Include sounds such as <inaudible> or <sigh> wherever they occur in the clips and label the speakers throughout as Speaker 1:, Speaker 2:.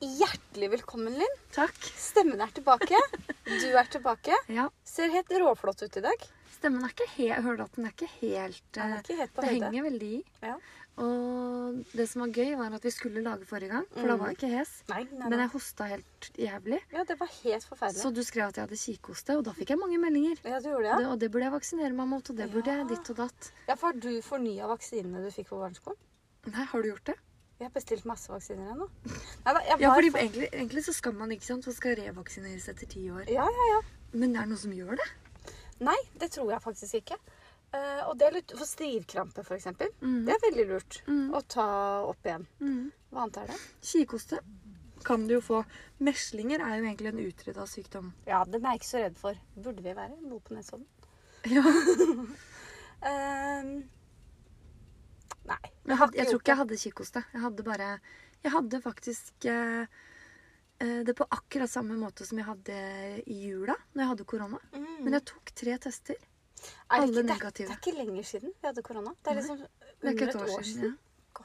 Speaker 1: hjertelig velkommen, Linn.
Speaker 2: Takk.
Speaker 1: Stemmen er tilbake. Du er tilbake.
Speaker 2: Ja,
Speaker 1: Ser helt råflott ut i dag.
Speaker 2: Stemmen er ikke helt Hørdalen er ikke helt
Speaker 1: Den er
Speaker 2: eh,
Speaker 1: ikke helt på
Speaker 2: Det
Speaker 1: høyde.
Speaker 2: henger veldig i.
Speaker 1: Ja.
Speaker 2: Og det som var gøy, var at vi skulle lage forrige gang, for da var jeg ikke hes.
Speaker 1: Mm. Nei, nei,
Speaker 2: Men
Speaker 1: nei.
Speaker 2: jeg hosta helt jævlig.
Speaker 1: Ja, det var helt
Speaker 2: Så
Speaker 1: forferdelig.
Speaker 2: du skrev at jeg hadde kikhoste, og da fikk jeg mange meldinger.
Speaker 1: Ja, du gjorde det?
Speaker 2: Det, og det burde jeg vaksinere meg mot, og det burde
Speaker 1: Ja.
Speaker 2: jeg ditt og datt.
Speaker 1: Ja, for har du fornya vaksinene du fikk på barneskolen?
Speaker 2: Nei, har du gjort det?
Speaker 1: Vi har bestilt masse vaksiner ennå. Neida, jeg
Speaker 2: Ja,
Speaker 1: var
Speaker 2: fordi
Speaker 1: fa-
Speaker 2: egentlig, egentlig så skal man ikke, sant? Man skal revaksineres etter ti år.
Speaker 1: ja, ja, ja.
Speaker 2: Men det er noen som gjør det.
Speaker 1: Nei, det tror jeg faktisk ikke. Eh, og det er lurt for strivkrampe, f.eks. eksempel.
Speaker 2: Mhm.
Speaker 1: Det er veldig lurt
Speaker 2: Mhm.
Speaker 1: å ta opp igjen.
Speaker 2: Mm.
Speaker 1: Hva annet er det?
Speaker 2: Kikhoste kan du jo få. Meslinger er jo egentlig en utrydda sykdom.
Speaker 1: Ja, den er jeg ikke så redd for. Burde vi være? Noe på Nesodden?
Speaker 2: <laughs> Ja.
Speaker 1: Eh, nei.
Speaker 2: Jeg, hadde, jeg tror
Speaker 1: gjort
Speaker 2: ikke jeg hadde kikhoste. Jeg hadde bare Jeg hadde faktisk eh, eh, det på akkurat samme måte som jeg hadde i jula, når jeg hadde korona.
Speaker 1: det. Mhm.
Speaker 2: Men jeg tok tre tester.
Speaker 1: Er det
Speaker 2: alle
Speaker 1: ikke- det er-
Speaker 2: negative.
Speaker 1: Det er ikke lenger siden vi hadde korona. Det er
Speaker 2: Nei,
Speaker 1: liksom
Speaker 2: Det er
Speaker 1: under
Speaker 2: ikke et år siden. Ja.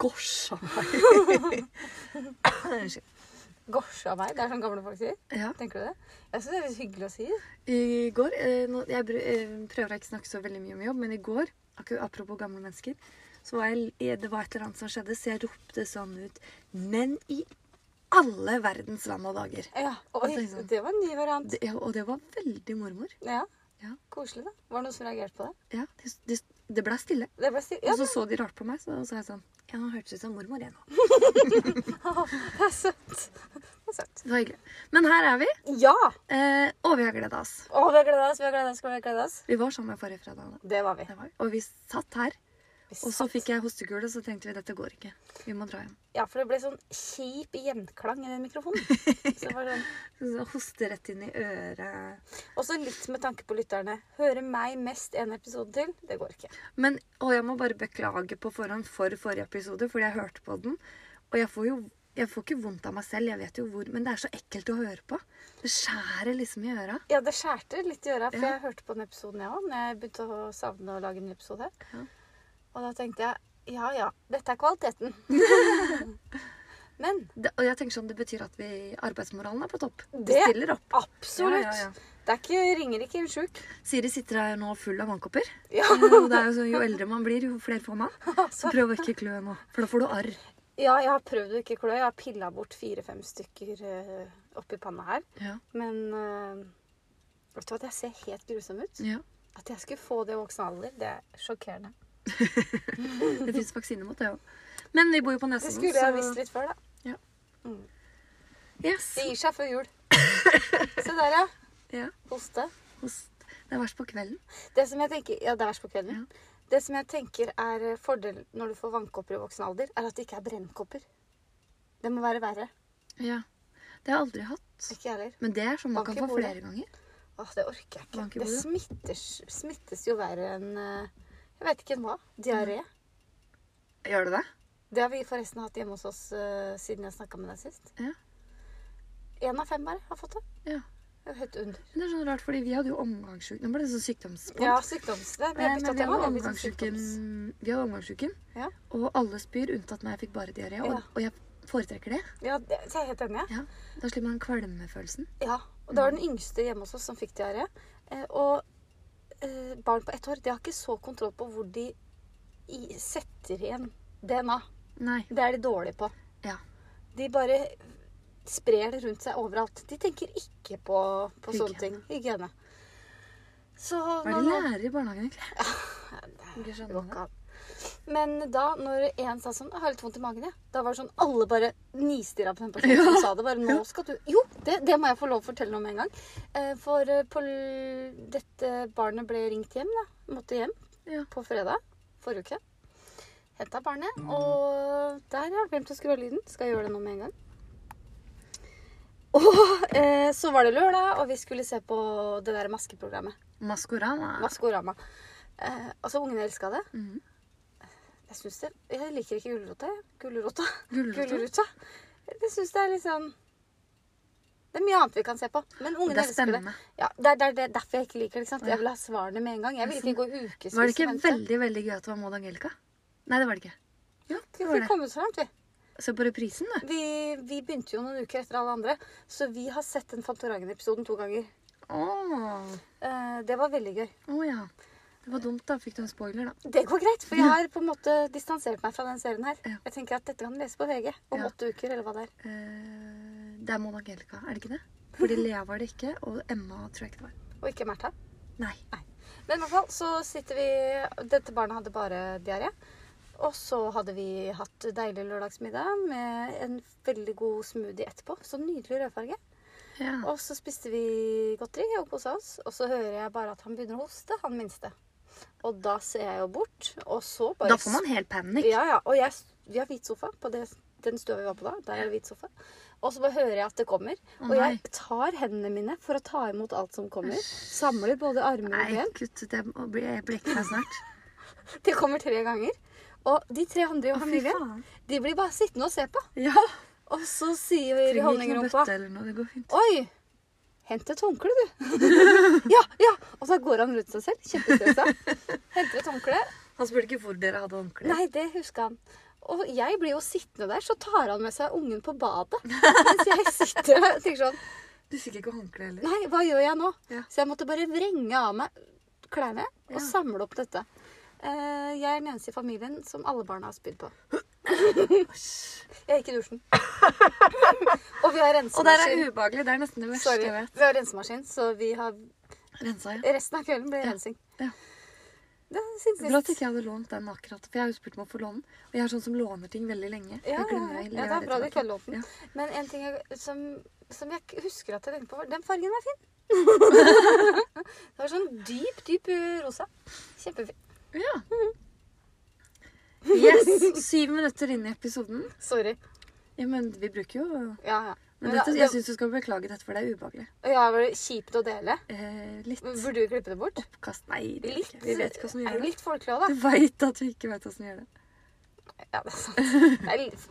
Speaker 1: Gorsja meg.
Speaker 2: Gosja meg.
Speaker 1: Gorsja meg, det er sånn gamle folk sier.
Speaker 2: <laughs> ja.
Speaker 1: Tenker du det? Jeg syns det er litt hyggelig å si.
Speaker 2: I går eh, nå- Jeg br- eh, prøver å ikke snakke så veldig mye om jobb, men i går, akku- apropos gamle mennesker, så var jeg, l- eh, det var et eller annet som skjedde, så jeg ropte sånn ut Men i alle verdens land og dager!
Speaker 1: Ja,
Speaker 2: Det
Speaker 1: Oi,
Speaker 2: er sånn.
Speaker 1: det var en ny variant.
Speaker 2: Det, ja, og det var veldig mormor.
Speaker 1: Ja.
Speaker 2: Ja.
Speaker 1: Koselig, da. Var det noen som reagerte på det?
Speaker 2: Ja, Det, det, det ble stille.
Speaker 1: Det ble stille. Ja,
Speaker 2: Og så så de rart på meg, så sa jeg sånn Ja, nå hørtes det ut som mormor igjen nå.
Speaker 1: det er søtt. Det er søtt.
Speaker 2: Det var hyggelig. Men her er vi,
Speaker 1: Ja!
Speaker 2: eh, og vi har gleda oss.
Speaker 1: Å, vi har gleda oss, vi har gleda oss, vi har gleda oss.
Speaker 2: Vi var sammen forrige fredag. da.
Speaker 1: Det var vi.
Speaker 2: Det var, vi. og vi satt her,
Speaker 1: Vi
Speaker 2: og så
Speaker 1: satt-
Speaker 2: fikk jeg hostekule, så tenkte vi dette går ikke. Vi må dra hjem.
Speaker 1: Ja, for det ble sånn kjip gjenklang i den <laughs> mikrofonen. Så det var sånn.
Speaker 2: Så Hoste rett inn i øret.
Speaker 1: Også litt med tanke på lytterne. Høre meg mest en episode til, det går ikke.
Speaker 2: Men, og jeg må bare beklage på forhånd for forrige episode, fordi jeg hørte på den. Og jeg får jo jeg får ikke vondt av meg selv, jeg vet jo hvor, men det er så ekkelt å høre på. Det skjærer liksom i øra.
Speaker 1: Ja, det skjærte litt i øra, for
Speaker 2: Ja.
Speaker 1: jeg hørte på den episoden jeg òg, når jeg begynte å savne å lage en ny episode.
Speaker 2: Ja.
Speaker 1: Og da tenkte jeg ja ja, dette er kvaliteten. <laughs> Men
Speaker 2: Det, og jeg tenker sånn, det betyr at vi, arbeidsmoralen er på topp. Vi
Speaker 1: Det-
Speaker 2: stiller opp.
Speaker 1: absolutt.
Speaker 2: Ja, ja,
Speaker 1: Det er ikke, ringer ikke en sjuk. <laughs>
Speaker 2: Siri sitter her nå full av vannkopper.
Speaker 1: Ja,
Speaker 2: Eh, Og det er jo sånn, jo eldre man blir, jo flere
Speaker 1: <laughs>
Speaker 2: får man. Så
Speaker 1: altså.
Speaker 2: prøv å ikke klø nå, for da får du arr.
Speaker 1: ja, jeg har prøvd å ikke klø. Jeg har pilla bort fire-fem stykker eh, oppi panna her.
Speaker 2: Ja.
Speaker 1: Men eh, vet du at jeg ser helt grusom ut?
Speaker 2: ja.
Speaker 1: At jeg skulle få det i voksen alder, det er sjokkerende.
Speaker 2: Det fins vaksine mot det òg. Men vi bor jo på
Speaker 1: Det
Speaker 2: Nesodden,
Speaker 1: skulle jeg visst litt før, da.
Speaker 2: Yes.
Speaker 1: Det gir seg før <laughs> jul. Se der, ja.
Speaker 2: Ja.
Speaker 1: Hoste.
Speaker 2: Hos, det er verst på kvelden.
Speaker 1: Det som jeg tenker, ja, det er verst på kvelden. Det som jeg tenker er eh, fordel når du får vannkopper i voksen alder, er at det ikke er brennkopper. Det må være verre.
Speaker 2: Ja. Det har jeg aldri hatt.
Speaker 1: Ikke jeg heller.
Speaker 2: Men det er sånn man
Speaker 1: Bank
Speaker 2: kan
Speaker 1: i
Speaker 2: få
Speaker 1: bordet.
Speaker 2: flere ganger.
Speaker 1: Åh, det orker jeg ikke.
Speaker 2: Bank i
Speaker 1: Det
Speaker 2: bordet.
Speaker 1: smittes, smittes jo verre enn eh, Jeg vet ikke enn hva. Diaré.
Speaker 2: Gjør det det?
Speaker 1: Det har vi forresten hatt hjemme hos oss eh, siden jeg snakka med deg sist.
Speaker 2: Ja.
Speaker 1: Én av fem bare har fått det.
Speaker 2: Ja.
Speaker 1: Det er jo Helt under.
Speaker 2: Men Det er sånn rart, fordi vi hadde jo omgangssjuke. Nå ble det sånn sykdomspod.
Speaker 1: Ja, sykdomsle. Vi har
Speaker 2: Eh,
Speaker 1: bytta
Speaker 2: men vi
Speaker 1: tema. vi
Speaker 2: hadde
Speaker 1: har byttet
Speaker 2: omgangssjuken,
Speaker 1: sånn sykdoms-
Speaker 2: vi hadde omgangssjuken
Speaker 1: Ja.
Speaker 2: og alle spyr unntatt meg. Jeg fikk bare diaré. Og,
Speaker 1: Ja.
Speaker 2: og jeg foretrekker det.
Speaker 1: Ja, det, så jeg er helt enig. jeg.
Speaker 2: Ja. Da slipper man kvalmefølelsen.
Speaker 1: Ja, og det var den yngste hjemme hos oss som fikk diaré. Eh, og eh, barn på ett år de har ikke så kontroll på hvor de i, setter igjen DNA.
Speaker 2: Nei.
Speaker 1: Det er de dårlige på.
Speaker 2: Ja.
Speaker 1: De bare sprer det rundt seg overalt. De tenker ikke på, på
Speaker 2: Hygiene.
Speaker 1: sånne ting. Hygiene. Så
Speaker 2: Hva er det
Speaker 1: nå-
Speaker 2: de lærer i barnehagen, egentlig?
Speaker 1: Nei,
Speaker 2: Ikke skjønner
Speaker 1: det går
Speaker 2: det.
Speaker 1: ikke an. Men da, når en sa sånn 'Jeg har litt vondt i magen', jeg. Da var det sånn alle bare nistirra på den personen som
Speaker 2: Ja.
Speaker 1: sa det. Bare 'Nå skal du Jo, det, det må jeg få lov å fortelle om en gang. Eh, For eh, på l dette barnet ble ringt hjem, da. Måtte hjem
Speaker 2: Ja.
Speaker 1: på fredag forrige uke. Henta barnet. Og der, ja. Glemt å skru av lyden. Skal jeg gjøre det nå med en gang. <laughs> Og eh, så var det lørdag, og vi skulle se på det der maskeprogrammet.
Speaker 2: Maskorama.
Speaker 1: Maskorama. Eh, altså, ungene elska det.
Speaker 2: Mhm.
Speaker 1: Jeg, synes det. jeg liker ikke gulrota. jeg. Gulrota.
Speaker 2: Gulrota?
Speaker 1: Gulrota. Jeg syns det er litt sånn Det er mye annet vi kan se på. Men ungene
Speaker 2: Det er
Speaker 1: elsker det.
Speaker 2: spennende.
Speaker 1: Ja, det er, det er- det er derfor jeg ikke liker det. ikke sant? Jeg vil ha svarene med en gang. Jeg vil ikke gå ukevis
Speaker 2: Var det ikke
Speaker 1: og vente.
Speaker 2: veldig veldig gøy at det var Maud Angelica? Nei, det var det ikke. Jo, det
Speaker 1: Vi
Speaker 2: var
Speaker 1: fikk
Speaker 2: det.
Speaker 1: kommet så langt, vi.
Speaker 2: Se på reprisen, du.
Speaker 1: vi. Vi begynte jo noen uker etter alle andre, så vi har sett den Fantorangen-episoden to ganger.
Speaker 2: Åh.
Speaker 1: Eh, det var veldig gøy.
Speaker 2: Å ja. Det var dumt, da. Fikk du en spoiler, da?
Speaker 1: Det går greit, for jeg har på en måte distansert meg fra den serien her.
Speaker 2: Ja.
Speaker 1: Jeg tenker at dette kan du lese på VG om
Speaker 2: Ja.
Speaker 1: åtte uker, eller hva det er.
Speaker 2: Eh, det er Maud Angelica, er det ikke det?
Speaker 1: <laughs>
Speaker 2: Fordi Lea var det ikke, og Emma tror jeg ikke det var.
Speaker 1: Og ikke Märtha.
Speaker 2: Nei.
Speaker 1: Men i hvert fall så sitter vi Dette barnet hadde bare diaré. Og så hadde vi hatt deilig lørdagsmiddag med en veldig god smoothie etterpå. Så nydelig rødfarge.
Speaker 2: Ja.
Speaker 1: Og så spiste vi godteri og kosa oss. Og så hører jeg bare at han begynner å hoste, han minste. Og da ser jeg jo bort, og så bare
Speaker 2: Da får man helt panikk.
Speaker 1: Ja, ja. Og jeg, vi har hvit sofa på det, den stua vi var på da. Der er det hvit sofa. Og så bare hører jeg at det kommer.
Speaker 2: Å,
Speaker 1: og
Speaker 2: nei.
Speaker 1: jeg tar hendene mine for å ta imot alt som kommer. Samler både armer og
Speaker 2: Nei,
Speaker 1: ben.
Speaker 2: kutt ut. Jeg må bli- jeg blekker meg
Speaker 1: <laughs>
Speaker 2: snart.
Speaker 1: Det kommer tre ganger. Og de tre andre i
Speaker 2: Å, fy
Speaker 1: familien
Speaker 2: faen.
Speaker 1: de blir bare sittende og se på.
Speaker 2: Ja.
Speaker 1: Og så sier
Speaker 2: Trenger ikke noe
Speaker 1: honningrumpa
Speaker 2: bøtte eller noe. Det går fint.
Speaker 1: Oi! Hent et håndkle, du. <laughs> ja, ja! Og så går han rundt seg selv, kjempestressa. Henter et håndkle.
Speaker 2: Han spurte ikke hvor dere hadde håndkle.
Speaker 1: Nei, det husker han. Og jeg blir jo sittende der, så tar han med seg ungen på badet. Mens jeg sitter og tenker sånn
Speaker 2: Du fikk ikke håndkle heller.
Speaker 1: Nei, hva gjør jeg nå?
Speaker 2: Ja.
Speaker 1: Så jeg måtte bare vrenge av meg klærne og
Speaker 2: Ja.
Speaker 1: samle opp dette. Eh, Jeg er den eneste i familien som alle barna har spydd på. Jeg gikk i
Speaker 2: <laughs>
Speaker 1: dusjen. Og vi har
Speaker 2: Og der er
Speaker 1: rensemaskin.
Speaker 2: ubehagelig. Det er nesten det verste
Speaker 1: Sorry.
Speaker 2: jeg vet.
Speaker 1: Vi har rensemaskin, så vi har
Speaker 2: Rensa, ja.
Speaker 1: Resten av kvelden blir
Speaker 2: Ja.
Speaker 1: rensing.
Speaker 2: Ja.
Speaker 1: Det syns
Speaker 2: Bra at
Speaker 1: jeg.
Speaker 2: ikke jeg hadde lånt den akkurat. For jeg har jo spurt om å få låne den. Og jeg er sånn som låner ting veldig lenge.
Speaker 1: Ja,
Speaker 2: jeg glemmer
Speaker 1: ja, ja.
Speaker 2: jeg
Speaker 1: Ja, det er bra du ikke har lånt den.
Speaker 2: Ja.
Speaker 1: Men en ting jeg, som, som jeg ikke husker at jeg tenkte på, var den fargen var fin. <laughs>
Speaker 2: <laughs>
Speaker 1: det var sånn dyp, dyp eh, rosa. Kjempefin.
Speaker 2: Ja.
Speaker 1: Mhm.
Speaker 2: Yes! Syv minutter inn i episoden.
Speaker 1: Sorry.
Speaker 2: Ja, men vi bruker jo
Speaker 1: Ja, ja.
Speaker 2: Men
Speaker 1: Men da-
Speaker 2: dette,
Speaker 1: det-
Speaker 2: jeg syns du skal beklage dette, for det er ubehagelig.
Speaker 1: Ja, var det kjipt å dele?
Speaker 2: Eh, litt
Speaker 1: Burde vi klippe det bort?
Speaker 2: oppkast Nei, det gjør vi
Speaker 1: Litt,
Speaker 2: ikke. vi vet ikke åssen vi
Speaker 1: er
Speaker 2: gjør
Speaker 1: jo
Speaker 2: det.
Speaker 1: Litt folkelig også,
Speaker 2: Du veit at vi ikke veit åssen vi gjør det.
Speaker 1: da. Ja, det er
Speaker 2: <laughs>
Speaker 1: sant. Det er litt,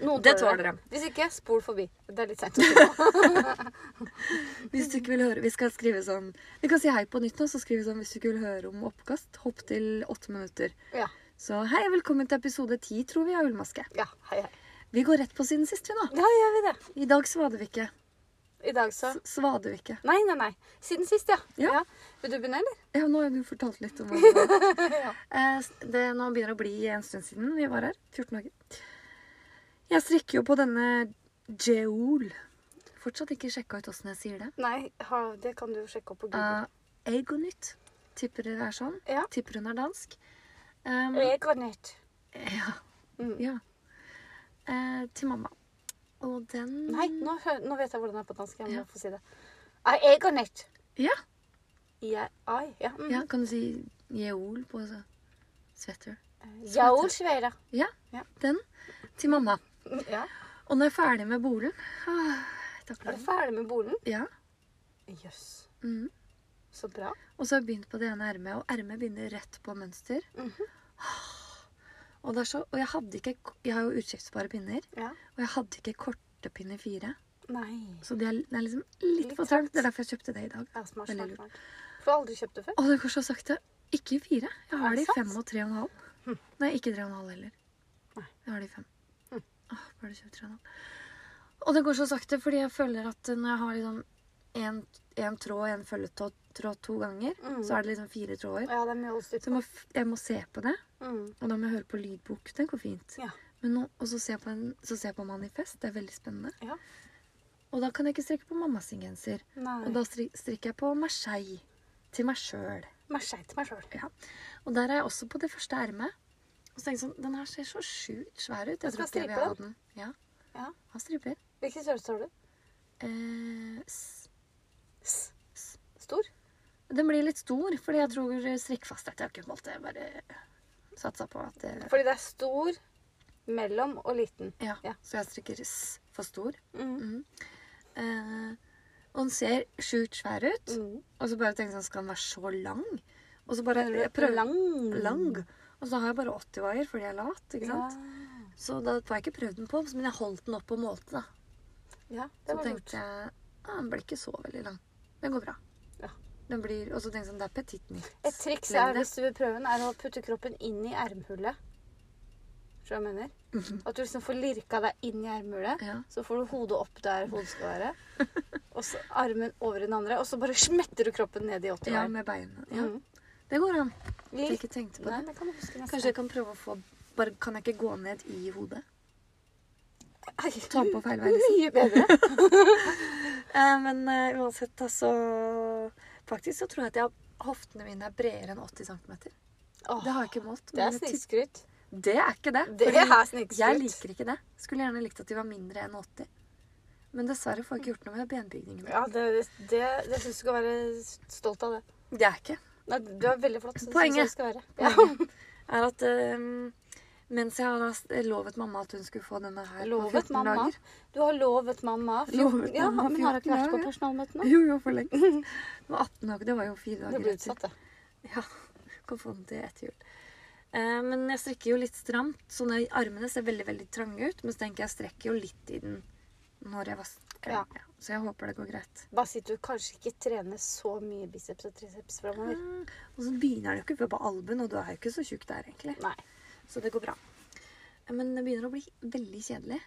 Speaker 1: noen
Speaker 2: Det tåler de.
Speaker 1: Hvis ikke, spol forbi. Det er litt seint å si nå.
Speaker 2: Hvis du ikke vil høre, Vi skal skrive sånn Vi kan si hei på nytt nå, så skriver vi sånn hvis du ikke vil høre om oppkast, hopp til åtte minutter.
Speaker 1: Ja.
Speaker 2: Så hei, velkommen til episode ti, tror vi, av Ullmaske.
Speaker 1: ja. Hei, hei.
Speaker 2: Vi går rett på siden sist, vi nå.
Speaker 1: Ja, gjør vi det.
Speaker 2: I dag svader vi ikke.
Speaker 1: I dag, så.
Speaker 2: S- Svader vi ikke.
Speaker 1: Nei, nei, nei. Siden sist, ja.
Speaker 2: Ja.
Speaker 1: Vil du begynne, eller?
Speaker 2: Ja, nå har du fortalt litt om hva det var.
Speaker 1: <laughs> Ja.
Speaker 2: Eh, s- det nå begynner det å bli en stund siden vi var her. 14 dager. Jeg strikker jo på denne Jeol. Fortsatt ikke sjekka ut åssen jeg sier det.
Speaker 1: Nei, ha, det kan du jo sjekke opp på Google.
Speaker 2: Uh, Egonytt. Tipper det er sånn.
Speaker 1: Ja. Mm.
Speaker 2: Tipper hun er dansk. Um,
Speaker 1: Jeg går ned.
Speaker 2: ja.
Speaker 1: Mm.
Speaker 2: ja. Eh, til mamma. Og den
Speaker 1: Nei, nå, hø- nå vet jeg hvordan det er på dansk. Jeg må
Speaker 2: Mm. Ja.
Speaker 1: få si det. Er jeg går ned?
Speaker 2: Ja.
Speaker 1: Jeg, ai, ja. Mm.
Speaker 2: ja. Kan du si Jeol på så- sweater?
Speaker 1: Jeg er olsveira.
Speaker 2: Ja.
Speaker 1: Ja.
Speaker 2: Den til mamma.
Speaker 1: Mm, Ja.
Speaker 2: Og når jeg er ferdig med bolen ah, jeg
Speaker 1: Er
Speaker 2: takler
Speaker 1: du
Speaker 2: den.
Speaker 1: ferdig med bolen?
Speaker 2: Ja.
Speaker 1: Jøss,
Speaker 2: Mm.
Speaker 1: så bra.
Speaker 2: Og så har jeg begynt på det ene ermet, og ermet begynner rett på mønster.
Speaker 1: Mhm.
Speaker 2: Ah, Og, det er så, og jeg hadde ikke Jeg har jo utskiftbare pinner,
Speaker 1: Ja.
Speaker 2: og jeg hadde ikke korte pinner fire.
Speaker 1: Nei.
Speaker 2: Så det er, det er liksom litt
Speaker 1: Litt
Speaker 2: for trangt. Det er derfor jeg kjøpte det i dag.
Speaker 1: Ja, smart,
Speaker 2: Veldig
Speaker 1: smart,
Speaker 2: lurt.
Speaker 1: smart. For du har aldri kjøpt det før?
Speaker 2: Og det går så sakte. Ikke i fire. Jeg
Speaker 1: Er
Speaker 2: har
Speaker 1: det
Speaker 2: det i
Speaker 1: sant? Hm.
Speaker 2: fem og tre og en halv. Nei, ikke tre og en halv heller.
Speaker 1: Nei.
Speaker 2: Jeg har det i fem.
Speaker 1: Hm.
Speaker 2: Åh, bare kjøp tre og en halv. Og det går så sakte fordi jeg føler at når jeg har liksom en, en tråd og en følgetråd tråd to ganger,
Speaker 1: Mm.
Speaker 2: så er det liksom fire tråder.
Speaker 1: Ja, det er mye oldstyrt.
Speaker 2: Så jeg må, f- jeg må se på det,
Speaker 1: Mm.
Speaker 2: og da må jeg høre på lydbok. Det går fint.
Speaker 1: Ja.
Speaker 2: Men nå, og så ser, jeg på en, så ser jeg på Manifest. Det er veldig spennende.
Speaker 1: Ja.
Speaker 2: Og da kan jeg ikke strikke på mammas genser.
Speaker 1: Nei.
Speaker 2: Og da stri- strikker jeg på Marseille til meg sjøl.
Speaker 1: Mer skei til meg sjøl.
Speaker 2: Ja. Og der er jeg også på det første ermet. Og så tenker jeg sånn, Den her ser så sjukt svær ut. Jeg
Speaker 1: skal
Speaker 2: tror ikke jeg vil
Speaker 1: stripe
Speaker 2: ha den. Ja,
Speaker 1: Ja.
Speaker 2: han striper.
Speaker 1: Hvilken størrelse har du?
Speaker 2: Eh, s-
Speaker 1: S. S. Stor?
Speaker 2: den blir litt stor, fordi jeg tror strikkfasthet Jeg har ikke målt det. Jeg bare satsa på at det
Speaker 1: Fordi det er stor, mellom og liten.
Speaker 2: ja.
Speaker 1: Ja.
Speaker 2: Så jeg strikker s for stor.
Speaker 1: Mm.
Speaker 2: Mm. Eh, og han ser sjukt svær ut.
Speaker 1: Mm.
Speaker 2: Og så bare tenkte jeg sånn, skal han være så lang? Og så bare
Speaker 1: Jeg
Speaker 2: jeg prøver-
Speaker 1: lang.
Speaker 2: lang. Og så har jeg bare 80 vaier fordi jeg er lat. ikke
Speaker 1: Ja.
Speaker 2: sant? Så da får jeg ikke prøvd den på, men jeg holdt den opp på måten. da.
Speaker 1: ja, det
Speaker 2: Så
Speaker 1: var lurt.
Speaker 2: tenkte jeg ah, den blir ikke så veldig lang. Den går bra.
Speaker 1: Ja.
Speaker 2: Den blir, Og så tenkte jeg sånn, det er petit nytt.
Speaker 1: Et triks er,
Speaker 2: Lengde.
Speaker 1: hvis du vil prøve den, er å putte kroppen inn i ermhullet. Skjønner du hva jeg mener? At du liksom får lirka deg inn i ermhullet.
Speaker 2: Mhm. Ja.
Speaker 1: Så får du hodet opp der hodet skal
Speaker 2: <laughs>
Speaker 1: være. Og så armen over i den andre, og så bare smetter du kroppen ned i 80
Speaker 2: Ja,
Speaker 1: år.
Speaker 2: med beina. Ja.
Speaker 1: Mm.
Speaker 2: Det går an.
Speaker 1: Litt-
Speaker 2: Jeg har ikke tenkt på
Speaker 1: Nei,
Speaker 2: det.
Speaker 1: det kan du huske neste
Speaker 2: Kanskje jeg kan prøve å få bare, Kan jeg ikke gå ned i hodet?
Speaker 1: Ai,
Speaker 2: Ta på
Speaker 1: <laughs>
Speaker 2: feil vei, liksom.
Speaker 1: Mye
Speaker 2: <laughs>
Speaker 1: bedre.
Speaker 2: Eh, men eh, uansett, altså Faktisk så tror jeg at jeg, hoftene mine er bredere enn 80 cm.
Speaker 1: Åh,
Speaker 2: Det har jeg ikke målt.
Speaker 1: det er
Speaker 2: men jeg tipp-
Speaker 1: snikskryt.
Speaker 2: det er ikke det.
Speaker 1: Det
Speaker 2: fordi
Speaker 1: er snikskryt.
Speaker 2: Jeg liker ikke det. Skulle gjerne likt at de var mindre enn 80. Men dessverre får jeg ikke gjort noe med benbygningen.
Speaker 1: Ja, det, det, det syns du skal være stolt av det.
Speaker 2: Det er ikke.
Speaker 1: Nei, du er veldig flott. så det
Speaker 2: Poenget.
Speaker 1: synes jeg du skal være.
Speaker 2: Poenget er at eh, mens jeg har s- lovet mamma at hun skulle få denne her på
Speaker 1: Lovet
Speaker 2: 14
Speaker 1: mamma.
Speaker 2: dager
Speaker 1: Du har lovet mamma. fjorten-
Speaker 2: Lovet
Speaker 1: ja,
Speaker 2: mamma
Speaker 1: men har hun ikke vært på
Speaker 2: 14 dager, ja.
Speaker 1: personalmøte nå?
Speaker 2: Jo, jo, for lengst. Det var 18 dager. Det var jo fire
Speaker 1: Det
Speaker 2: dager
Speaker 1: blir
Speaker 2: etter.
Speaker 1: utsatt, det.
Speaker 2: Ja, kan få den til etter jul. Eh, men jeg strekker jo litt stramt, så når armene ser veldig veldig trange ut. Men så tenker jeg jeg strekker jo litt i den når jeg vasker.
Speaker 1: Ja.
Speaker 2: Ja, så jeg håper det går greit.
Speaker 1: Bare si at du kanskje ikke trener så mye biceps og triceps framover.
Speaker 2: Mm, Og så begynner det jo ikke før på albuen, og du er jo ikke så tjukk der egentlig.
Speaker 1: Nei.
Speaker 2: Så det går bra. Eh, Men det begynner å bli veldig kjedelig.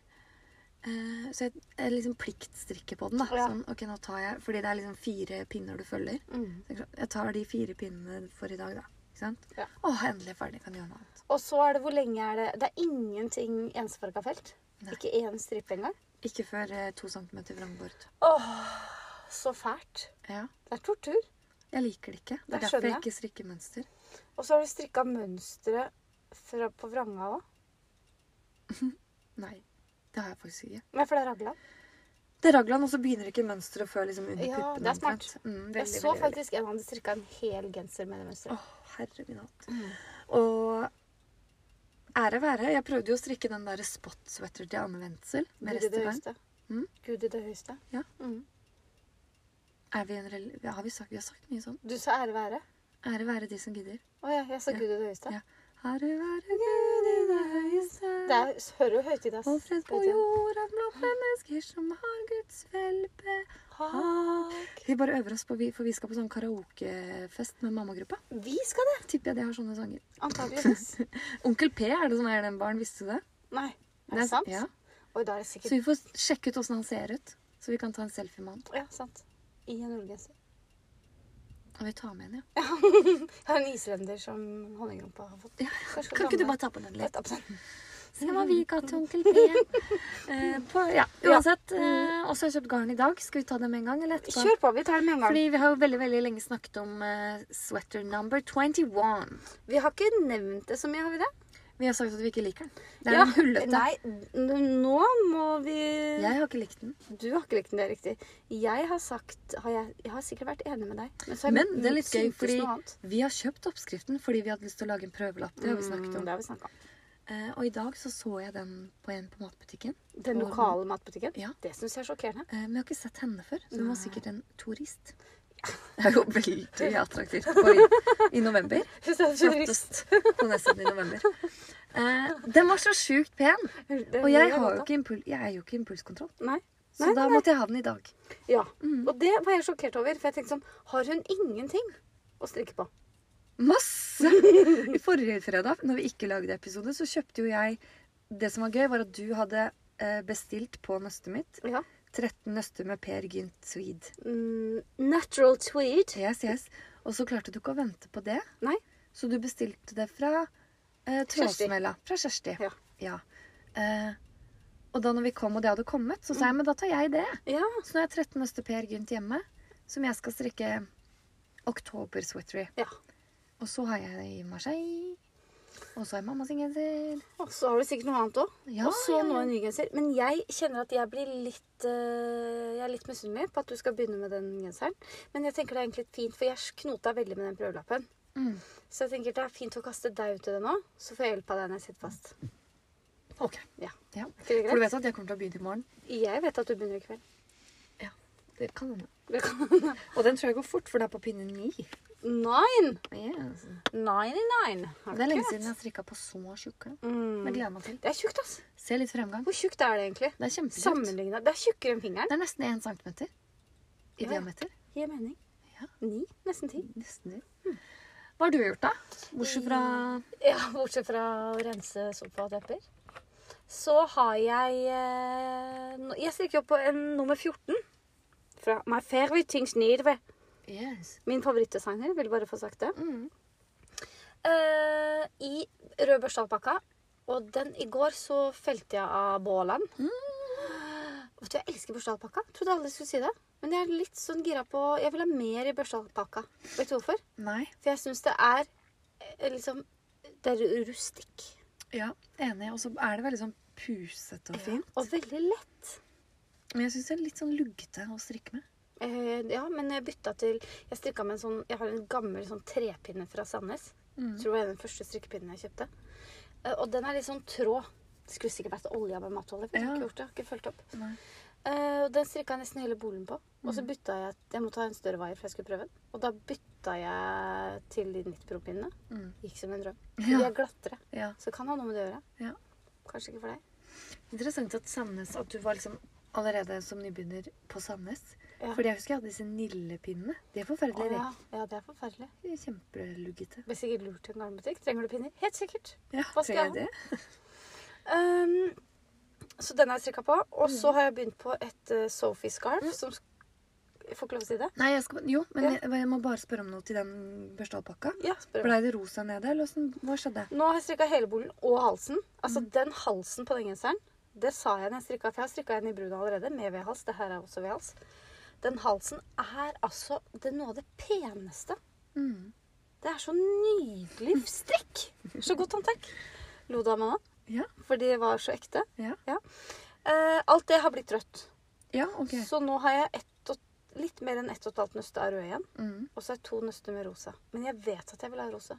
Speaker 2: Eh, så jeg, jeg liksom pliktstrikker på den. da.
Speaker 1: Ja.
Speaker 2: Sånn, ok, nå tar jeg, Fordi det er liksom fire pinner du følger.
Speaker 1: Mm.
Speaker 2: Så jeg- Jeg tar de fire pinnene for i dag, da. Ikke sant?
Speaker 1: Ja.
Speaker 2: Åh, endelig er jeg ferdig. Kan gjøre noe annet.
Speaker 1: Og så er det hvor lenge er det Det er ingenting ensfarga felt.
Speaker 2: Nei.
Speaker 1: Ikke én stripe engang.
Speaker 2: Ikke før eh, to centimeter vrangbord.
Speaker 1: Åh, så fælt.
Speaker 2: Ja.
Speaker 1: Det er tortur.
Speaker 2: Jeg liker det ikke. Det
Speaker 1: Det
Speaker 2: er derfor
Speaker 1: skjønner
Speaker 2: jeg
Speaker 1: jeg.
Speaker 2: ikke strikker mønster.
Speaker 1: Og så har du strikka mønsteret fra- på vranga òg.
Speaker 2: Nei, det har jeg faktisk ikke.
Speaker 1: Nei, for det er raglan.
Speaker 2: Det er raglan, og så begynner ikke mønsteret før liksom under
Speaker 1: Ja,
Speaker 2: puppene.
Speaker 1: det er smart.
Speaker 2: omtrent. Mm, veldig,
Speaker 1: Jeg så
Speaker 2: veldig, veldig.
Speaker 1: faktisk en hadde strikka en hel genser med det mønsteret.
Speaker 2: Åh, herre min hatt.
Speaker 1: mm.
Speaker 2: Og ære være, jeg prøvde jo å strikke den der spot-sweater til Anne Wendsel med
Speaker 1: Gud i det
Speaker 2: restebein.
Speaker 1: høyeste.
Speaker 2: Mm.
Speaker 1: Gud i det høyeste.
Speaker 2: Ja.
Speaker 1: Mm.
Speaker 2: Er vi en rel... ja, Har vi sagt, vi har sagt mye sånn.
Speaker 1: Du sa ære være.
Speaker 2: Ære være de som gidder.
Speaker 1: Å ja, jeg sa
Speaker 2: Ja.
Speaker 1: Gud i det høyeste.
Speaker 2: Ja. Ære være Gud i det høyeste.
Speaker 1: Det er, hører jo høytid, ass.
Speaker 2: Og fred på
Speaker 1: Høytid.
Speaker 2: jorda blant mennesker som har Guds velbehag. Vi bare øver oss på, vi- for vi skal på sånn karaokefest med mammagruppa.
Speaker 1: Vi skal det!
Speaker 2: Tipper jeg de har sånne sanger.
Speaker 1: Antakeligvis.
Speaker 2: <laughs> Onkel P er det som er den barn, visste du det?
Speaker 1: Nei, er
Speaker 2: Nei,
Speaker 1: det sant?
Speaker 2: Ja.
Speaker 1: Oi, da er det
Speaker 2: Så
Speaker 1: sikkert
Speaker 2: vi får sjekke ut åssen han ser ut. Så vi kan ta en selfie med han.
Speaker 1: Ja, sant. I en ullgenser.
Speaker 2: Og vi tar med en, ja.
Speaker 1: Jeg har en islender som honningrumpa har fått.
Speaker 2: ja.
Speaker 1: Kanskje
Speaker 2: Kan ikke du
Speaker 1: blande-
Speaker 2: bare ta på den
Speaker 1: Litt
Speaker 2: litt?
Speaker 1: opp sånn.
Speaker 2: Se hva vi ga til <laughs> onkel P. Eh, på, ja. Uansett. Eh, også har jeg kjøpt garn i dag. Skal vi ta det med en gang, eller etterpå?
Speaker 1: Kjør på, vi tar det med en gang.
Speaker 2: Fordi vi har jo veldig veldig lenge snakket om eh, sweater number 21.
Speaker 1: Vi har ikke nevnt det så mye, har vi det?
Speaker 2: Vi har sagt at vi ikke liker den. Det er
Speaker 1: Ja.
Speaker 2: en hullete.
Speaker 1: Nei, n- nå må vi
Speaker 2: Jeg har ikke likt den.
Speaker 1: Du har ikke likt den, det er riktig. Jeg har sagt har jeg, jeg har sikkert vært enig med deg. Men, så har jeg
Speaker 2: Men det er litt gøy,
Speaker 1: syntes
Speaker 2: fordi
Speaker 1: noe annet.
Speaker 2: vi har kjøpt oppskriften fordi vi hadde lyst til å lage en prøvelapp. Det har vi
Speaker 1: Mm,
Speaker 2: snakket om.
Speaker 1: Det har vi snakket om.
Speaker 2: Eh, og i dag så så jeg den på en på matbutikken.
Speaker 1: Den
Speaker 2: Og-
Speaker 1: lokale matbutikken?
Speaker 2: Ja.
Speaker 1: Det syns jeg er sjokkerende. <laughs>
Speaker 2: Eh, men jeg har ikke sett henne før, så hun var
Speaker 1: Nei.
Speaker 2: sikkert en turist. <laughs> Det er jo veldig <laughs> attraktivt på i, i november.
Speaker 1: <laughs>
Speaker 2: Flottest på nesten i november. Eh, den var så sjukt pen! Og jeg, har jo ikke impul jeg er jo ikke impulskontroll.
Speaker 1: Nei.
Speaker 2: Så
Speaker 1: Nei,
Speaker 2: da Mm. måtte jeg ha den i dag.
Speaker 1: Ja. Og det var jeg sjokkert over, for jeg tenkte sånn Har hun ingenting å strikke på?
Speaker 2: Masse! I forrige fredag, når vi ikke lagde episode, så kjøpte jo jeg Det som var gøy, var at du hadde eh, bestilt på nøstet mitt
Speaker 1: Ja.
Speaker 2: 13 nøster med Per Gynt Swede.
Speaker 1: Mm, natural tweed.
Speaker 2: Yes, yes. Og så klarte du ikke å vente på det,
Speaker 1: Nei.
Speaker 2: så du bestilte det fra eh,
Speaker 1: Kjersti.
Speaker 2: Trådsmella. Fra Kjersti.
Speaker 1: Ja.
Speaker 2: Eh, og da når vi kom, og det hadde kommet, så
Speaker 1: Mm.
Speaker 2: sa jeg men da tar jeg det.
Speaker 1: Ja.
Speaker 2: Så nå har jeg 13 nøster Per Gynt hjemme, som jeg skal strikke oktober-sweater i.
Speaker 1: ja.
Speaker 2: Og så har jeg det i Marseille. Og så har jeg mamma sin genser.
Speaker 1: Og så har du sikkert noe annet òg.
Speaker 2: Ja,
Speaker 1: og så
Speaker 2: ja,
Speaker 1: nå
Speaker 2: ja.
Speaker 1: en ny genser. Men jeg kjenner at jeg blir litt eh, Jeg er litt misunnelig på at du skal begynne med den genseren. Men jeg tenker det er egentlig litt fint, for jeg knota veldig med den prøvelappen.
Speaker 2: Mm.
Speaker 1: Så jeg tenker det er fint å kaste deg ut i det nå, så får jeg hjelp av deg når jeg sitter fast.
Speaker 2: Ok.
Speaker 1: Ja. Er
Speaker 2: Ja.
Speaker 1: ikke det
Speaker 2: For du
Speaker 1: greit?
Speaker 2: vet at jeg kommer til å begynne i morgen?
Speaker 1: Jeg vet at du begynner i kveld.
Speaker 2: Det kan hende.
Speaker 1: Det <laughs> kan-
Speaker 2: Og den tror jeg går fort, for det er på pinne ni. altså.
Speaker 1: Nine!
Speaker 2: Yes.
Speaker 1: Ninety-nine.
Speaker 2: Det er lenge siden jeg har strikka på så tjukke. Men jeg
Speaker 1: Mm.
Speaker 2: gleder meg til.
Speaker 1: Det er tjukt, ass.
Speaker 2: Se litt fremgang.
Speaker 1: Hvor tjukt er det egentlig?
Speaker 2: Det er kjempetjukt.
Speaker 1: Sammenlignet. Det er tjukkere enn fingeren.
Speaker 2: Det er nesten 1 centimeter i
Speaker 1: Ja.
Speaker 2: diameter.
Speaker 1: Gir mening.
Speaker 2: Ja.
Speaker 1: Ni. Nesten ti.
Speaker 2: Nesten det. Hm. Mm. Hva har du gjort, da? Bortsett fra
Speaker 1: Ja, bortsett fra å rense sofatepper. Så har jeg eh, nå- Jeg strikker jo på en nummer 14. Fra My Favorite Things Nirve.
Speaker 2: Yes.
Speaker 1: Min favorittdesigner. Vil bare få sagt det.
Speaker 2: Mm.
Speaker 1: Eh, I rød børsteavpakka. Og den i går så felte jeg av bålen. Vet du, jeg elsker børstealpakka. Trodde aldri jeg skulle si det. Men jeg er litt sånn gira på Jeg vil ha mer i børstealpakka. Vet du hvorfor?
Speaker 2: Nei.
Speaker 1: For jeg syns det er eh, liksom Det er rustikk.
Speaker 2: Ja, enig. Og så er det veldig sånn pusete og fint.
Speaker 1: Og veldig lett.
Speaker 2: Men jeg syns det er litt sånn luggete å strikke med.
Speaker 1: Eh, ja, men jeg bytta til Jeg strikka med en sånn Jeg har en gammel sånn trepinne fra Sandnes.
Speaker 2: Mm.
Speaker 1: Tror det var den første strikkepinnen jeg kjøpte. Eh, og den er litt sånn tråd. Skulle sikkert vært olja med matolje. for Jeg har
Speaker 2: Ja.
Speaker 1: ikke gjort det. Jeg har ikke fulgt opp.
Speaker 2: Nei. Mm.
Speaker 1: Eh, og den strikka jeg nesten hele bolen på. Og så bytta jeg Jeg måtte ha en større vaier, for jeg skulle prøve den. Og da bytta jeg til de nittpropinnene.
Speaker 2: Mm.
Speaker 1: Gikk som en
Speaker 2: <laughs>
Speaker 1: drøm.
Speaker 2: Ja.
Speaker 1: De er glattere.
Speaker 2: Ja.
Speaker 1: Så det kan ha noe med det å gjøre.
Speaker 2: Ja.
Speaker 1: Kanskje ikke for deg.
Speaker 2: Interessant at Sandnes At du var liksom allerede som nybegynner på Sandnes.
Speaker 1: Ja.
Speaker 2: Fordi jeg husker jeg hadde disse nillepinnene. De er
Speaker 1: Å,
Speaker 2: forferdelige.
Speaker 1: ja. ja, det er forferdelig.
Speaker 2: De er Kjempeluggete.
Speaker 1: Blir sikkert lurt til en garnbutikk. Trenger du pinner? Helt sikkert.
Speaker 2: Ja,
Speaker 1: Hva skal jeg
Speaker 2: trenger det?
Speaker 1: Ehm, så den har jeg strikka på. Og så har jeg begynt på et eh, Sophie-scarf. Som sk- Jeg får ikke lov å si det.
Speaker 2: Nei, jeg skal, jo, men
Speaker 1: Ja.
Speaker 2: jeg, jeg må bare spørre om noe til den børstealpakka.
Speaker 1: Ja, spør meg.
Speaker 2: Blei det rosa nede, eller åssen- hva skjedde?
Speaker 1: Nå har jeg strikka hele bolen og halsen. Altså den halsen på den genseren, det sa jeg når jeg strikka, for jeg har strikka en i brun allerede, med V-hals. Det her er også V-hals. Den halsen er altså det, er noe av det peneste.
Speaker 2: Mm.
Speaker 1: Det er så nydelig strikk. Så godt håndverk. Lo du av meg nå?
Speaker 2: Ja.
Speaker 1: For de var så ekte.
Speaker 2: Ja.
Speaker 1: Eh, alt det har blitt rødt.
Speaker 2: ja, ok.
Speaker 1: Så nå har jeg ett og, litt mer enn ett og et halvt nøste av rød igjen.
Speaker 2: Mm.
Speaker 1: Og så er det to nøster med rosa. Men jeg vet at jeg vil ha rosa.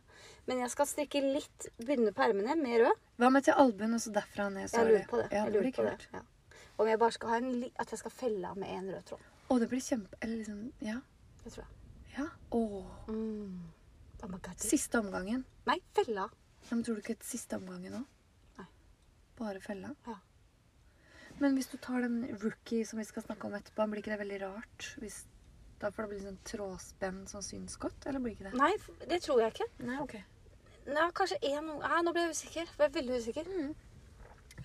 Speaker 1: Men jeg skal strikke litt, begynne på ermene med rød.
Speaker 2: Hva med til albuen og så derfra og ned? Så
Speaker 1: Jeg
Speaker 2: er
Speaker 1: lurer på det.
Speaker 2: Ja,
Speaker 1: jeg
Speaker 2: det
Speaker 1: lurer
Speaker 2: blir
Speaker 1: på det.
Speaker 2: kult.
Speaker 1: Ja. Om jeg bare skal ha en li at jeg skal felle av med én rød tråd.
Speaker 2: Å, det blir kjempe... Eller liksom, ja.
Speaker 1: Det tror jeg.
Speaker 2: ja. Åh.
Speaker 1: Mm. Oh my God.
Speaker 2: Siste omgangen.
Speaker 1: Nei, felle av.
Speaker 2: Ja, men tror du ikke et siste omgangen òg?
Speaker 1: Nei.
Speaker 2: Bare fella?
Speaker 1: Ja.
Speaker 2: Men hvis du tar den rookie som vi skal snakke om etterpå, blir ikke det veldig rart? Hvis, da får det bli sånn trådspenn som syns godt, eller blir ikke det?
Speaker 1: Nei, f- det tror jeg ikke.
Speaker 2: Nei, ok.
Speaker 1: Nei, kanskje én Nei, nå ble jeg usikker. Jeg er veldig usikker.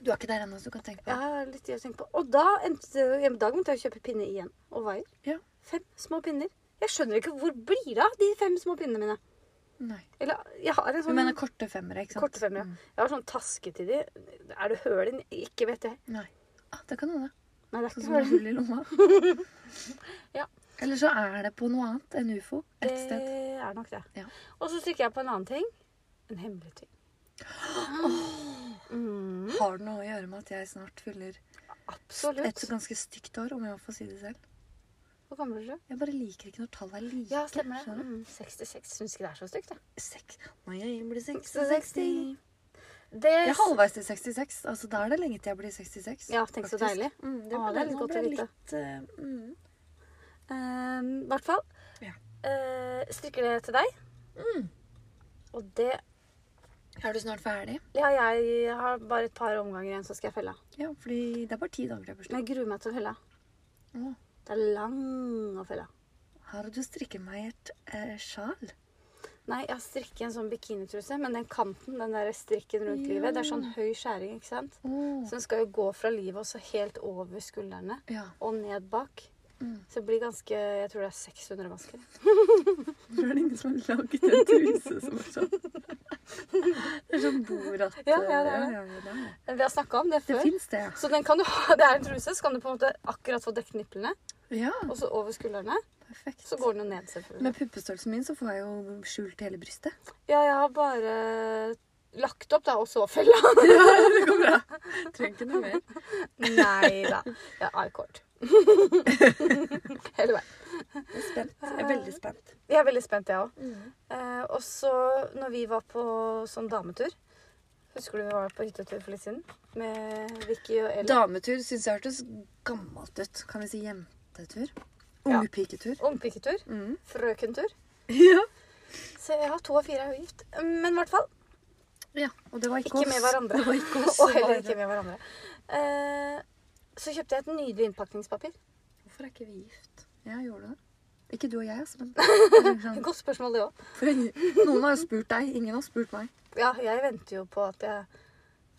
Speaker 2: Du er ikke der ennå, så du kan tenke på
Speaker 1: Jeg
Speaker 2: det.
Speaker 1: har litt å tenke på. Og da endte det jo- I dag måtte jeg jo kjøpe pinne igjen. Og vaier.
Speaker 2: Ja.
Speaker 1: Fem små pinner. Jeg skjønner ikke hvor blir det av de fem små pinnene mine.
Speaker 2: Nei.
Speaker 1: Eller jeg har en
Speaker 2: Du
Speaker 1: sånn
Speaker 2: mener korte femmere, ikke sant?
Speaker 1: Korte femmere.
Speaker 2: Mm.
Speaker 1: Jeg har sånn taske til de. Er det høl inni? Ikke vet jeg.
Speaker 2: Nei. Ah, det kan hende.
Speaker 1: Nei, det er
Speaker 2: Sånn
Speaker 1: ikke
Speaker 2: som det er
Speaker 1: høl.
Speaker 2: hull i lomma.
Speaker 1: <laughs> Ja.
Speaker 2: Eller så er det på noe annet enn ufo et sted.
Speaker 1: Det er nok det.
Speaker 2: Ja.
Speaker 1: Og så trykker jeg på en annen ting. En hemmelig ting. Mm,
Speaker 2: Har det noe å gjøre med at jeg snart fyller et
Speaker 1: absolutt.
Speaker 2: ganske stygt år, om jeg får si det selv?
Speaker 1: Hvor gammel er du?
Speaker 2: Jeg bare liker ikke når tall er like.
Speaker 1: Ja, stemmer det.
Speaker 2: skjønner du?
Speaker 1: Mm, 66. Syns ikke det er så stygt, jeg.
Speaker 2: Seks- Når jeg blir
Speaker 1: 66.
Speaker 2: 66
Speaker 1: Det
Speaker 2: Jeg er halvveis til 66. Altså, Da er det lenge til jeg blir 66.
Speaker 1: Ja, tenk så
Speaker 2: faktisk.
Speaker 1: deilig.
Speaker 2: Mm, det,
Speaker 1: Å,
Speaker 2: ble,
Speaker 1: det er litt
Speaker 2: nå
Speaker 1: godt
Speaker 2: ble
Speaker 1: å
Speaker 2: jeg
Speaker 1: vite.
Speaker 2: Litt, eh, mm.
Speaker 1: Ehm, I hvert fall.
Speaker 2: Ja.
Speaker 1: Eh, strikker det til deg.
Speaker 2: Mm.
Speaker 1: Og det
Speaker 2: Er du snart ferdig?
Speaker 1: Ja, jeg har bare et par omganger igjen, så skal jeg felle av.
Speaker 2: Ja, fordi det er bare ti dager til jeg har
Speaker 1: Men
Speaker 2: bursdag.
Speaker 1: jeg gruer meg til å felle av.
Speaker 2: Å,
Speaker 1: Det er lang å felle av.
Speaker 2: Har du strikket meg et eh, sjal?
Speaker 1: Nei, jeg har strikket en sånn bikinitruse, men den kanten, den der strikken rundt
Speaker 2: Ja.
Speaker 1: livet, det er sånn høy skjæring, ikke sant?
Speaker 2: Å,
Speaker 1: Så den skal jo gå fra livet og så helt over skuldrene <laughs>
Speaker 2: Ja.
Speaker 1: og ned bak.
Speaker 2: Mm.
Speaker 1: Så det blir ganske Jeg tror det er 600 vansker.
Speaker 2: Hvorfor er det ingen som har laget en truse som er sånn? <laughs> Det er sånn borat
Speaker 1: Ja, ja, det er det.
Speaker 2: ja, ja, det, er det.
Speaker 1: Vi har snakka om det
Speaker 2: det
Speaker 1: før.
Speaker 2: fins det,
Speaker 1: så den kan du ha, <laughs> det er en truse, så kan du på en måte akkurat få dekket nipplene,
Speaker 2: ja.
Speaker 1: og så over skuldrene.
Speaker 2: Perfekt.
Speaker 1: Så går den jo ned, selvfølgelig.
Speaker 2: Med puppestørrelsen min så får jeg jo skjult hele brystet.
Speaker 1: Ja, jeg har bare lagt opp, da, og så fella.
Speaker 2: <laughs> Det går bra. Trenger ikke noe mer.
Speaker 1: Nei da. <laughs> Ja, <laughs> I-cord. Hele veien.
Speaker 2: Jeg er spent. Jeg er veldig spent.
Speaker 1: Jeg er veldig spent, jeg òg. Eh, og så når vi var på sånn dametur Husker du vi var på hyttetur for litt siden? Med Vicky og Elin.
Speaker 2: Dametur syns jeg hørtes gammelt ut. Kan vi si jentetur?
Speaker 1: Ja.
Speaker 2: Ungpiketur.
Speaker 1: Ungpiketur.
Speaker 2: Mm.
Speaker 1: Frøkentur.
Speaker 2: Ja.
Speaker 1: Så jeg har to av fire er jo gift. Men i hvert fall
Speaker 2: Og det var ikke,
Speaker 1: ikke med <laughs> hverandre.
Speaker 2: Det var ikke oss.
Speaker 1: Og heller
Speaker 2: det var-
Speaker 1: ikke med hverandre. Eh, så kjøpte jeg et nydelig innpakningspapir.
Speaker 2: Hvorfor er ikke vi gift? Jeg gjorde det. Ikke du og jeg, altså. <laughs> Men Sånn,
Speaker 1: Godt spørsmål, det òg.
Speaker 2: for en- noen har jo spurt deg. Ingen har spurt meg.
Speaker 1: Ja, jeg venter jo på at jeg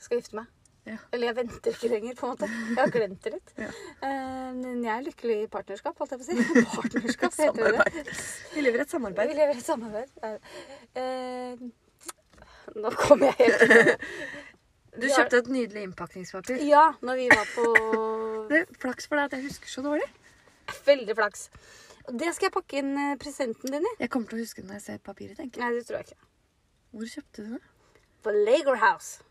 Speaker 1: skal gifte meg.
Speaker 2: Ja.
Speaker 1: Eller jeg venter ikke lenger, på en måte. Jeg har glemt det litt.
Speaker 2: Ja.
Speaker 1: Eh, Men jeg er lykkelig i partnerskap, holdt jeg på å si.
Speaker 2: <laughs>
Speaker 1: Partnerskap heter det.
Speaker 2: Vi lever i et samarbeid.
Speaker 1: Vi lever i et samarbeid. Eh, eh, Nå kom jeg helt ut.
Speaker 2: Du
Speaker 1: Vi har-
Speaker 2: kjøpte et nydelig innpakningspapir.
Speaker 1: Ja, når vi var på
Speaker 2: Det er flaks for deg at jeg husker så dårlig.
Speaker 1: Veldig flaks. Og det skal jeg pakke inn eh, presenten din i.
Speaker 2: Jeg kommer til å huske det når jeg ser papiret, tenker jeg.
Speaker 1: Nei, det tror jeg ikke.
Speaker 2: Hvor kjøpte du det?
Speaker 1: På Lager House.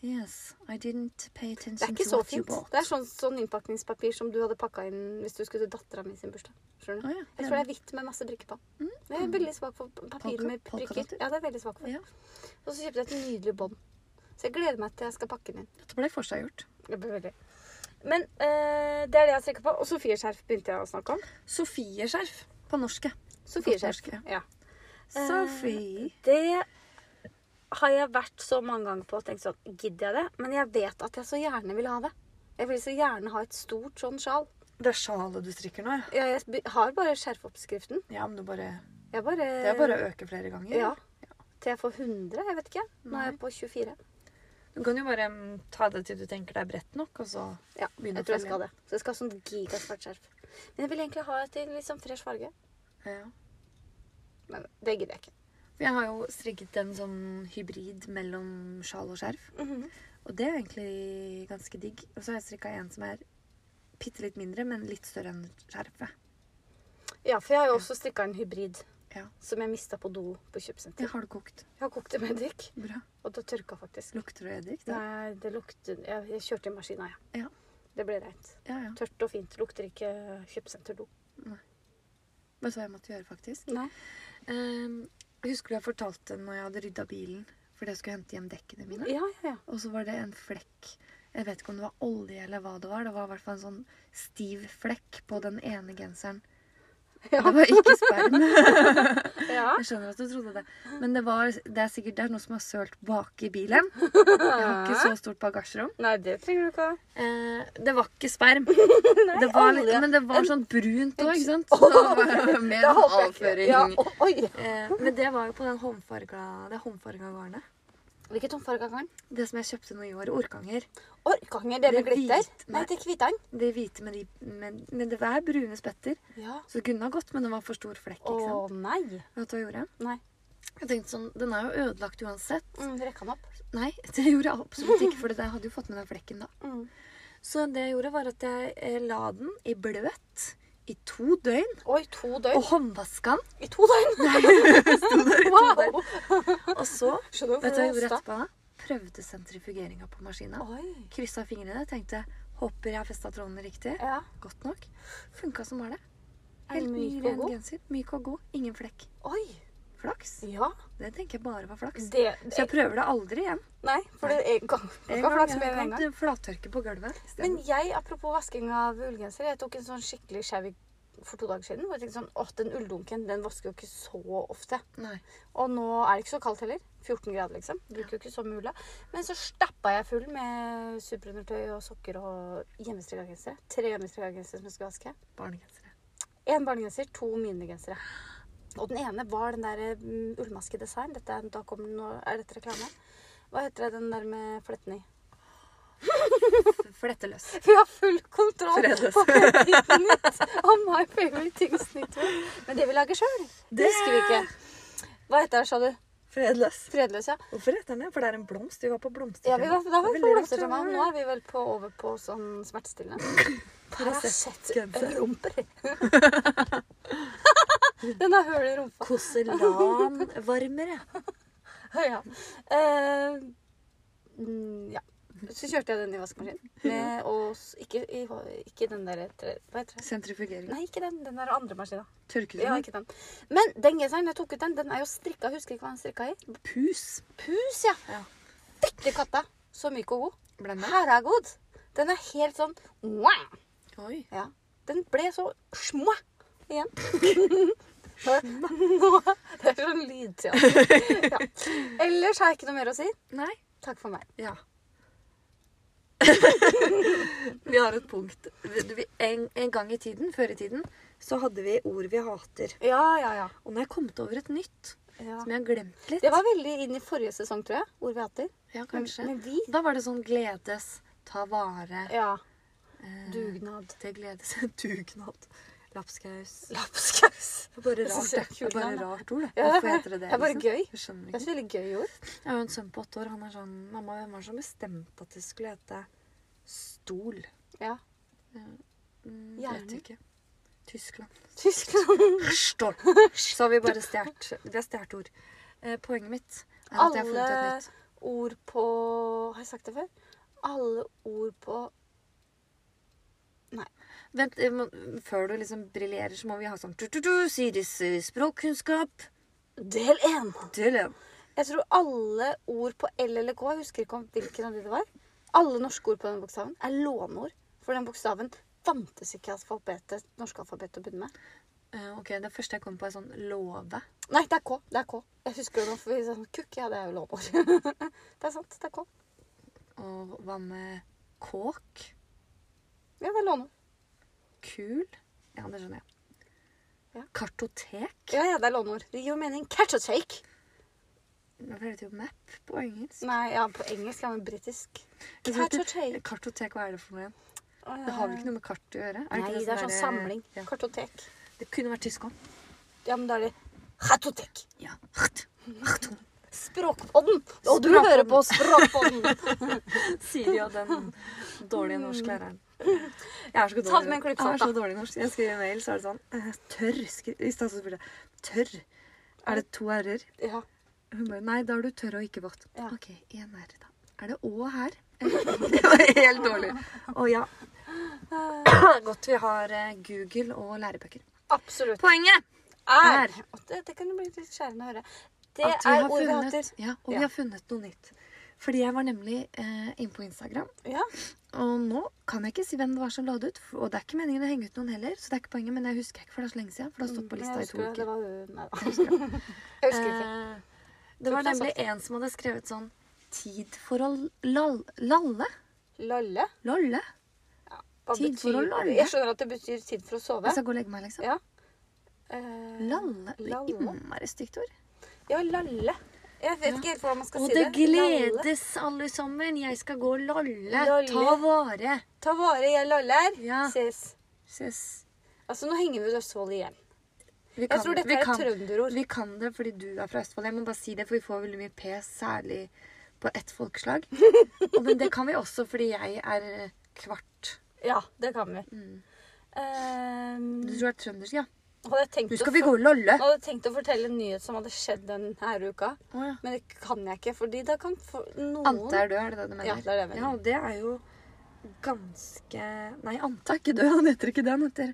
Speaker 2: Yes, I didn't pay
Speaker 1: Det er
Speaker 2: attention
Speaker 1: ikke
Speaker 2: to
Speaker 1: så
Speaker 2: what you
Speaker 1: fint.
Speaker 2: bought.
Speaker 1: Det er sånn, sånn innpakningspapir som du hadde pakka inn hvis du skulle til dattera mi sin bursdag. Skjønner du?
Speaker 2: Å ja,
Speaker 1: Jeg tror det
Speaker 2: gjerne.
Speaker 1: er hvitt med masse brikker på.
Speaker 2: Mm.
Speaker 1: Jeg er veldig svak for papir
Speaker 2: Polka-
Speaker 1: med prikker.
Speaker 2: polkadotter?
Speaker 1: Ja, det er jeg veldig svak for.
Speaker 2: Ja.
Speaker 1: Og så kjøpte jeg et nydelig bånd. Så jeg gleder meg til jeg skal pakke den inn.
Speaker 2: Dette ble forseggjort.
Speaker 1: Det blir veldig. Men eh, det er det jeg strekker på. Og Sofieskjerf begynte jeg å snakke om.
Speaker 2: Sofieskjerf på norske.
Speaker 1: Sofieskjerf.
Speaker 2: norsk,
Speaker 1: Ja.
Speaker 2: Eh, Sophie.
Speaker 1: Det har jeg vært så mange ganger på og tenkt sånn Gidder jeg det? Men jeg vet at jeg så gjerne vil ha det. Jeg vil så gjerne ha et stort sånn sjal.
Speaker 2: Det er sjalet du strikker nå, ja.
Speaker 1: Jeg jeg har bare skjerfoppskriften.
Speaker 2: Ja, men du bare,
Speaker 1: Jeg bare
Speaker 2: det er bare å øke flere ganger.
Speaker 1: Ja. Til jeg får 100. Jeg vet ikke. Nå er jeg
Speaker 2: Nei.
Speaker 1: på 24.
Speaker 2: Du kan jo bare mm, ta det til du tenker det er bredt nok, og så
Speaker 1: Ja,
Speaker 2: begynne
Speaker 1: jeg
Speaker 2: å
Speaker 1: tror jeg
Speaker 2: følge
Speaker 1: skal det. Så jeg skal ha sånn gigasvart skjerf. Men jeg vil egentlig ha et i litt sånn fresh farge.
Speaker 2: Ja.
Speaker 1: Men det gidder jeg ikke.
Speaker 2: For Jeg har jo strikket en sånn hybrid mellom sjal og skjerf. Og det er egentlig ganske digg. Og så har jeg strikka en som er bitte litt mindre, men litt større enn skjerfet.
Speaker 1: Ja, for jeg har jo også strikka en hybrid
Speaker 2: Ja.
Speaker 1: som jeg mista på do på
Speaker 2: Det
Speaker 1: kjøpesenter.
Speaker 2: har du kokt.
Speaker 1: Jeg har kokt det med eddik,
Speaker 2: Bra.
Speaker 1: og det tørka faktisk.
Speaker 2: Lukter det eddik? da?
Speaker 1: Nei, det lukter Jeg, jeg kjørte i maskina, jeg.
Speaker 2: Ja.
Speaker 1: Det ble rent.
Speaker 2: Ja, ja.
Speaker 1: Tørt og fint. Lukter ikke kjøpesenterdo.
Speaker 2: Vet du hva jeg måtte gjøre, faktisk?
Speaker 1: Nei.
Speaker 2: Ehm, jeg husker du jeg fortalte når jeg hadde rydda bilen fordi jeg skulle hente hjem dekkene mine?
Speaker 1: Ja, ja, ja.
Speaker 2: Og så var det en flekk. Jeg vet ikke om det var olje eller hva det var. Det var i hvert fall en sånn stiv flekk på den ene genseren.
Speaker 1: Ja.
Speaker 2: Det var ikke <laughs> sperm.
Speaker 1: ja.
Speaker 2: Jeg skjønner at du trodde det. Men det, var, det er sikkert det er noe som har sølt bak i bilen. Jeg har ikke så stort bagasjerom.
Speaker 1: Nei, det trenger du ikke ha.
Speaker 2: Eh, det var ikke sperm.
Speaker 1: Nei,
Speaker 2: Det var, litt-
Speaker 1: olje.
Speaker 2: men det var sånn brunt òg, ikke sant?
Speaker 1: Å,
Speaker 2: Så det var mer
Speaker 1: Da
Speaker 2: sånn
Speaker 1: håper jeg ikke.
Speaker 2: avføring.
Speaker 1: Ja, å- oi.
Speaker 2: Eh, men det var jo på den håndfarga, det håndfarga garnet.
Speaker 1: Hvilket håndfarge har den?
Speaker 2: Det som jeg kjøpte nå i år, Orkanger.
Speaker 1: Orkanger, det med
Speaker 2: Det er
Speaker 1: glitter?
Speaker 2: hvit.
Speaker 1: Nei, det er kvitan.
Speaker 2: Det hvite med de Men, men det er brune spetter.
Speaker 1: Ja.
Speaker 2: Så det kunne ha gått, men det var for stor flekk. ikke sant?
Speaker 1: Å nei.
Speaker 2: Vet du hva jeg gjorde?
Speaker 1: Nei.
Speaker 2: Jeg tenkte sånn, Den er jo ødelagt uansett.
Speaker 1: Mm, Rekk han opp.
Speaker 2: Nei, <laughs> det gjorde jeg absolutt ikke, for jeg hadde jo fått med den flekken da.
Speaker 1: Mm.
Speaker 2: Så det jeg gjorde, var at jeg eh, la den i bløt i to døgn.
Speaker 1: Oi, to døgn.
Speaker 2: Og håndvaska den.
Speaker 1: I <laughs> to døgn! wow!
Speaker 2: Og så
Speaker 1: Skjønner du
Speaker 2: vet du hva jeg
Speaker 1: hvorfor
Speaker 2: gjorde
Speaker 1: det
Speaker 2: etterpå? da? Prøvde sentrifugeringa på maskina.
Speaker 1: Oi.
Speaker 2: Kryssa fingrene. Tenkte håper jeg har festa trådene riktig.
Speaker 1: Ja.
Speaker 2: Godt nok. Funka som bare det.
Speaker 1: Er
Speaker 2: Helt
Speaker 1: den
Speaker 2: ny,
Speaker 1: myk og
Speaker 2: ren
Speaker 1: god?
Speaker 2: genser. Myk og god. Ingen flekk.
Speaker 1: Oi.
Speaker 2: Flaks.
Speaker 1: Ja.
Speaker 2: Det tenker jeg bare var flaks.
Speaker 1: Det
Speaker 2: Så jeg prøver det aldri igjen.
Speaker 1: Nei, for det er en gang. Man kan flakse mer enn en gang.
Speaker 2: kan flattørke på gulvet.
Speaker 1: Men jeg, apropos vasking av ullgenser, jeg tok en sånn skikkelig skjev for to dager siden. Hvor jeg tenkte sånn, åh, den ulldunken, den vasker jo ikke så ofte.
Speaker 2: Nei.
Speaker 1: Og nå er det ikke så kaldt heller. 14 grader, liksom. Bruker jo ikke så mye ulla. Men så stappa jeg full med superundertøy og sokker og hjemmestrikka gensere. Tre hjemmestrikka gensere som jeg skulle vaske.
Speaker 2: Barnegensere.
Speaker 1: En barnegenser, to minigensere. Og den ene var den der mm, ullmaske design. Dette er, da kommer den nå, er dette reklame? Hva heter det den der med fletten i? <laughs>
Speaker 2: Fletteløs.
Speaker 1: Vi har full kontroll
Speaker 2: Fredes.
Speaker 1: på Peppin Nytt og My Favorite Things Nyttår. Men det vi lager sjøl, det husker vi ikke. Hva heter det, sa du?
Speaker 2: Fredløs.
Speaker 1: Fredløs, ja.
Speaker 2: Hvorfor heter den det? For det er en blomst. Vi var på blomster.
Speaker 1: ja vi var, da var vi på blomstertema. Nå er vi vel på, over på sånn smertestillende. Paracet-rumper. <laughs> Den har hull i rumpa.
Speaker 2: Koselanvarmere.
Speaker 1: <laughs> Ja. Eh, mm, ja. Så kjørte jeg den i vaskemaskinen. Med, og s- ikke, i, ikke den der tre, Hva heter det?
Speaker 2: <laughs> Sentrifugering.
Speaker 1: Nei, ikke den. Den der andre maskina.
Speaker 2: Tørker du
Speaker 1: Ja,
Speaker 2: den?
Speaker 1: ikke den. Men den genseren, jeg tok ut den, den er jo strikka. Husker ikke hva den er strikka i.
Speaker 2: Pus.
Speaker 1: Pus, ja.
Speaker 2: Ja.
Speaker 1: Fytti katta. Så myk og god.
Speaker 2: Ble den det?
Speaker 1: Herregud. Den er helt sånn wow.
Speaker 2: Oi.
Speaker 1: Ja. Den ble så små. Igjen. <laughs> Nå. Det er sånn lydteater. Ja. Ellers har jeg ikke noe mer å si.
Speaker 2: Nei.
Speaker 1: Takk for meg.
Speaker 2: Ja. <laughs> vi har et punkt. Vi- vi- En, en gang i tiden, før i tiden, så hadde vi ord vi hater.
Speaker 1: Ja, ja, ja.
Speaker 2: Og nå har jeg kommet over et nytt
Speaker 1: ja.
Speaker 2: som jeg har glemt litt.
Speaker 1: Det var veldig inn i forrige sesong, tror jeg. Ord vi hater.
Speaker 2: Ja,
Speaker 1: Men,
Speaker 2: kanskje.
Speaker 1: men vi
Speaker 2: Da var det sånn gledes, ta vare,
Speaker 1: Ja.
Speaker 2: eh,
Speaker 1: Dugnad.
Speaker 2: til
Speaker 1: <laughs>
Speaker 2: gledes, dugnad, lapskaus.
Speaker 1: Lapskaus.
Speaker 2: Det er bare Jeg
Speaker 1: synes det er
Speaker 2: rart, det. Det er
Speaker 1: kult
Speaker 2: bare
Speaker 1: navn, da.
Speaker 2: rart ord, det.
Speaker 1: Ja,
Speaker 2: Hvorfor heter det det?
Speaker 1: det er bare
Speaker 2: liksom?
Speaker 1: gøy.
Speaker 2: Jeg skjønner
Speaker 1: Det er
Speaker 2: ikke.
Speaker 1: et veldig gøy ord.
Speaker 2: Jeg har jo en sønn på åtte år. Han er sånn Mamma, hvem var det som bestemte at det skulle hete stol?
Speaker 1: Ja.
Speaker 2: Mm,
Speaker 1: Gjerne.
Speaker 2: vet ikke. Tyskland.
Speaker 1: <laughs> Tyskland.
Speaker 2: Stol. <laughs> Så har vi bare stjålet. Vi har stjålet ord. Eh, poenget mitt er at jeg har funnet et
Speaker 1: Alle
Speaker 2: nytt.
Speaker 1: ord på Har jeg sagt det før? Alle ord på
Speaker 2: Vent, jeg må- før du liksom briljerer, så må vi ha sånn tu-tu-tu, Siris eh, språkkunnskap.
Speaker 1: Del én.
Speaker 2: Til en.
Speaker 1: Jeg tror alle ord på L eller K, jeg husker ikke om hvilken av de det var, alle norske ord på den bokstaven er låneord. For den bokstaven fantes ikke i alfabetet, norske alfabetet å begynne med.
Speaker 2: Eh, ok, det første jeg kom på, er sånn låve.
Speaker 1: Nei, det er K. det er K. Jeg husker det nå, for vi sa sånn kukk, ja, det er jo låneord. <laughs> det er sant, det er K.
Speaker 2: Og hva med kåk?
Speaker 1: Ja, det er låneord.
Speaker 2: Kul? Ja, det skjønner jeg.
Speaker 1: Ja.
Speaker 2: Kartotek?
Speaker 1: Ja, ja, det er låneord. Det gir jo mening. Catch a shake.
Speaker 2: Hvorfor heter det jo map på engelsk?
Speaker 1: Nei, ja, på engelsk, ja, men britisk.
Speaker 2: Jeg tror
Speaker 1: Catch a
Speaker 2: ikke-
Speaker 1: shake.
Speaker 2: Kartotek, Eh, hva er det for noe? Det har vel ikke noe med kart å gjøre?
Speaker 1: Nei,
Speaker 2: ikke
Speaker 1: det er sånn
Speaker 2: der-
Speaker 1: samling.
Speaker 2: eh, Ja.
Speaker 1: Kartotek.
Speaker 2: Det kunne vært tysk òg.
Speaker 1: Ja, men da er det Kartotek.
Speaker 2: Ja.
Speaker 1: Språkpodden! Og du
Speaker 2: Språkpodden.
Speaker 1: hører på Språkpodden!
Speaker 2: Sier jo den dårlige norsklæreren. Jeg er så dårlig
Speaker 1: Ta det med en klype
Speaker 2: Jeg er
Speaker 1: salt,
Speaker 2: så dårlig i norsk. Jeg skriver mail, så er det sånn eh, Tørr. skri- I stad så spurte jeg tørr. Er det to r-er?
Speaker 1: <laughs> ja.
Speaker 2: Hun bare Nei, da er du tørr og ikke våt.
Speaker 1: Ja.
Speaker 2: OK, én r, da. Er det å her? <laughs> Det var helt dårlig. Å
Speaker 1: <coughs>
Speaker 2: ja. Godt vi har eh, Google og lærebøker.
Speaker 1: Absolutt.
Speaker 2: Poenget
Speaker 1: Er. Og det, det kan jo bli litt skjærende å høre. Det
Speaker 2: at vi
Speaker 1: er
Speaker 2: har
Speaker 1: ord vi
Speaker 2: funnet,
Speaker 1: hater.
Speaker 2: ja, og
Speaker 1: Ja.
Speaker 2: vi har funnet noe nytt. Fordi jeg var nemlig eh, inne på Instagram,
Speaker 1: Ja.
Speaker 2: og nå kan jeg ikke si hvem det var som la det ut. for- Og det er ikke meningen å henge ut noen heller, så det er ikke poenget, men jeg husker ikke, for det har så lenge siden. For det har stått på
Speaker 1: Men
Speaker 2: lista
Speaker 1: Mm, jeg
Speaker 2: i to
Speaker 1: husker det, det
Speaker 2: uker.
Speaker 1: var hun Nei da. Jeg <laughs> husker ikke.
Speaker 2: Eh, det var
Speaker 1: Tror ikke jeg har
Speaker 2: nemlig en som hadde skrevet sånn Tid for å lal, lalle?
Speaker 1: Lalle?
Speaker 2: Lolle?
Speaker 1: Hva
Speaker 2: Tid for å
Speaker 1: betyr
Speaker 2: lalle.
Speaker 1: Jeg skjønner at det betyr tid for å sove.
Speaker 2: Jeg skal gå og legge meg, liksom.
Speaker 1: Ja. Eh,
Speaker 2: Lalle. Det er
Speaker 1: Lalle.
Speaker 2: Innmari stygt ord.
Speaker 1: Ja, lalle. Jeg vet
Speaker 2: Ja.
Speaker 1: ikke helt hvordan man skal
Speaker 2: Og
Speaker 1: si det.
Speaker 2: det gledes, alle sammen. Jeg skal gå og lalle.
Speaker 1: Lolle.
Speaker 2: Ta vare.
Speaker 1: Lalle. Ta vare, jeg laller.
Speaker 2: Ja.
Speaker 1: Ses.
Speaker 2: Ses.
Speaker 1: Altså, nå henger vi ut Østfold igjen.
Speaker 2: Vi
Speaker 1: Jeg tror dette
Speaker 2: vi
Speaker 1: er et
Speaker 2: kan-
Speaker 1: trønderord.
Speaker 2: Vi kan det fordi du er fra Østfold. Jeg må bare si det, for vi får veldig mye pes, særlig på ett
Speaker 1: <laughs>
Speaker 2: folkeslag. Og, men det kan vi også fordi jeg er kvart.
Speaker 1: Ja, det kan vi.
Speaker 2: Mm.
Speaker 1: Ehm,
Speaker 2: Du tror jeg er trøndersk, ja?
Speaker 1: hadde jeg tenkt
Speaker 2: Nå skal
Speaker 1: å
Speaker 2: vi gå og lolle.
Speaker 1: Nå hadde jeg tenkt å fortelle en nyhet som hadde skjedd denne uka,
Speaker 2: Å, ja.
Speaker 1: men det kan jeg ikke, fordi da kan for noen
Speaker 2: Ante er død, er det det du mener?
Speaker 1: Ja, det er det jeg mener.
Speaker 2: Ja, og det er jo ganske Nei, Ante er ikke død. Han heter ikke det. Han heter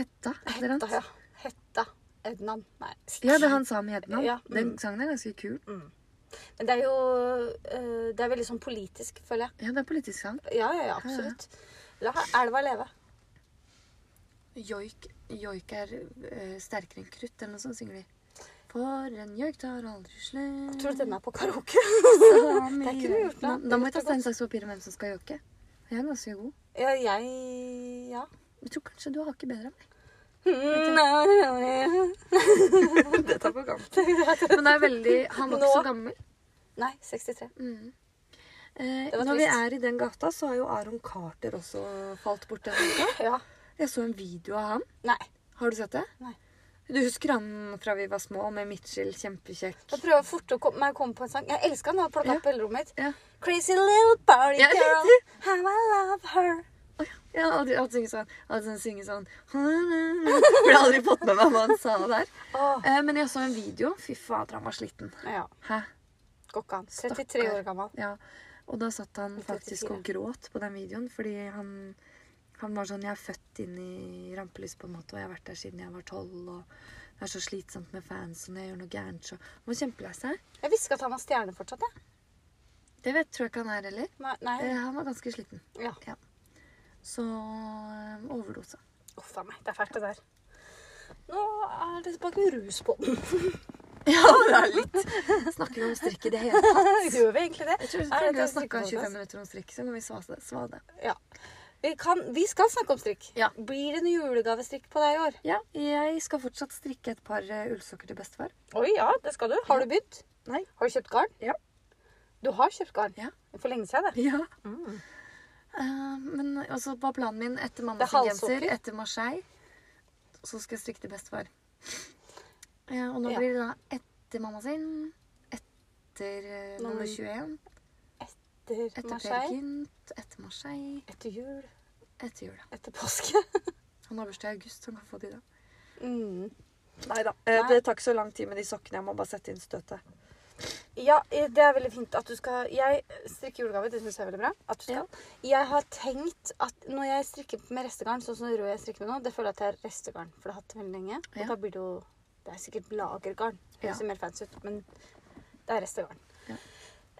Speaker 2: Hetta. eller
Speaker 1: Hetta,
Speaker 2: annet.
Speaker 1: ja. Hetta Ednan. Nei.
Speaker 2: Ja, det er han sa med Hedman.
Speaker 1: Ja,
Speaker 2: Den
Speaker 1: mm.
Speaker 2: sangen er ganske kul.
Speaker 1: Men det er jo eh, Det er veldig sånn politisk, føler jeg.
Speaker 2: Ja, det er politisk sang.
Speaker 1: Ja, ja, ja, absolutt. La elva leve.
Speaker 2: Joik, joik er eh, sterkere enn krutt, eller noe sånt, synger de. For en joik tar aldri slutt.
Speaker 1: Tror du den er på
Speaker 2: <laughs>
Speaker 1: karaoke?
Speaker 2: det
Speaker 1: Det kunne vi gjort, da.
Speaker 2: da. Da må vi ta
Speaker 1: Det
Speaker 2: stein, saks, papir om hvem som skal joike. Jeg er ganske god.
Speaker 1: Ja, jeg Ja.
Speaker 2: Jeg tror kanskje du har ikke bedre enn meg.
Speaker 1: Nei, <laughs>
Speaker 2: det tar for gammelt. <laughs> Men det er veldig Han var ikke
Speaker 1: Nå.
Speaker 2: så gammel.
Speaker 1: 63.
Speaker 2: Mm. Eh,
Speaker 1: Det var
Speaker 2: når vi
Speaker 1: trist.
Speaker 2: er i den gata, så har jo Aron Carter også falt bort. denne uka.
Speaker 1: Ja.
Speaker 2: Jeg så en video av han.
Speaker 1: Nei.
Speaker 2: Har du sett det?
Speaker 1: Nei.
Speaker 2: Du husker han fra vi var små, med Mitchell, kjempekjekk.
Speaker 1: Jeg prøver fort å komme, meg å komme på en sang. Jeg elsker den. Jeg har plukket opp på ellerommet mitt.
Speaker 2: Ja.
Speaker 1: Crazy little party
Speaker 2: Ja,
Speaker 1: girl, how I love her.
Speaker 2: Ja, og de- alt synger sånn, alt sånn synger sånn For jeg har aldri fått med meg hva han sa der.
Speaker 1: Åh,
Speaker 2: Eh, men jeg så en video. Fy fader, han var sliten.
Speaker 1: ja,
Speaker 2: Hæ?
Speaker 1: går ikke an. 33
Speaker 2: Stakkar.
Speaker 1: år gammel.
Speaker 2: Ja. Og da satt han faktisk
Speaker 1: 34.
Speaker 2: og gråt på den videoen, fordi han han var sånn Jeg er født inn i rampelyset, på en måte, og jeg har vært der siden jeg var tolv. Og det er så slitsomt med fans, og når jeg gjør noe gærent, så Han var kjempelei seg.
Speaker 1: Jeg visste ikke at han var stjerne fortsatt, jeg.
Speaker 2: Det vet, tror jeg ikke han er heller.
Speaker 1: Nei, nei.
Speaker 2: Eh, han var ganske sliten.
Speaker 1: Ja.
Speaker 2: Så eh, overdose.
Speaker 1: Uff a meg, det er fælt det der. Nå er det tilbake rus på
Speaker 2: <laughs>
Speaker 1: den.
Speaker 2: Ja, det er litt. Snakker vi om strikk i det hele tatt?
Speaker 1: Gjør vi egentlig det?
Speaker 2: Jeg tror vi
Speaker 1: Nei,
Speaker 2: kan
Speaker 1: det er
Speaker 2: snakke om
Speaker 1: strikk-
Speaker 2: 25 minutter om strikk, så kan vi svare det. Svare det.
Speaker 1: Ja. Vi, kan, vi skal snakke om strikk.
Speaker 2: Ja.
Speaker 1: Blir det en julegavestrikk på deg i år?
Speaker 2: Ja, jeg skal fortsatt strikke et par eh, ullsokker til bestefar.
Speaker 1: Oi, ja, det skal du. Har du begynt?
Speaker 2: Nei.
Speaker 1: Har du kjøpt garn?
Speaker 2: Ja.
Speaker 1: Du har kjøpt garn?
Speaker 2: Ja.
Speaker 1: For lenge siden, det.
Speaker 2: Ja. Mm. Eh, men også var planen min etter mamma
Speaker 1: Det er
Speaker 2: sin genser,
Speaker 1: halssokker.
Speaker 2: etter Marseille, så skal jeg strikke til bestefar. Eh, og nå
Speaker 1: Ja.
Speaker 2: blir det da etter mamma sin, etter eh,
Speaker 1: Mamma-
Speaker 2: nummer 21,
Speaker 1: Etter,
Speaker 2: etter Per
Speaker 1: Marseille.
Speaker 2: Gynt, etter Marseille,
Speaker 1: Etter jul.
Speaker 2: etter jula.
Speaker 1: Etter påske. <laughs>
Speaker 2: Han har bursdag i august, så han kan få de da.
Speaker 1: Mm.
Speaker 2: Neida,
Speaker 1: eh, det
Speaker 2: tar ikke så lang tid med de sokkene, jeg må bare sette inn støtet.
Speaker 1: Ja, eh, det er veldig fint at du skal Jeg strikker julegave, det syns jeg er veldig bra. At du skal. Jeg har tenkt at når jeg strikker med restegarn, sånn som det røde jeg strikker med nå, det føler jeg at jeg har restegarn, for det har hatt det veldig lenge.
Speaker 2: Ja.
Speaker 1: Og da blir det jo Det er sikkert lagergarn. Det
Speaker 2: Ja.
Speaker 1: ser mer fancy ut, men det er restegarn.
Speaker 2: Ja.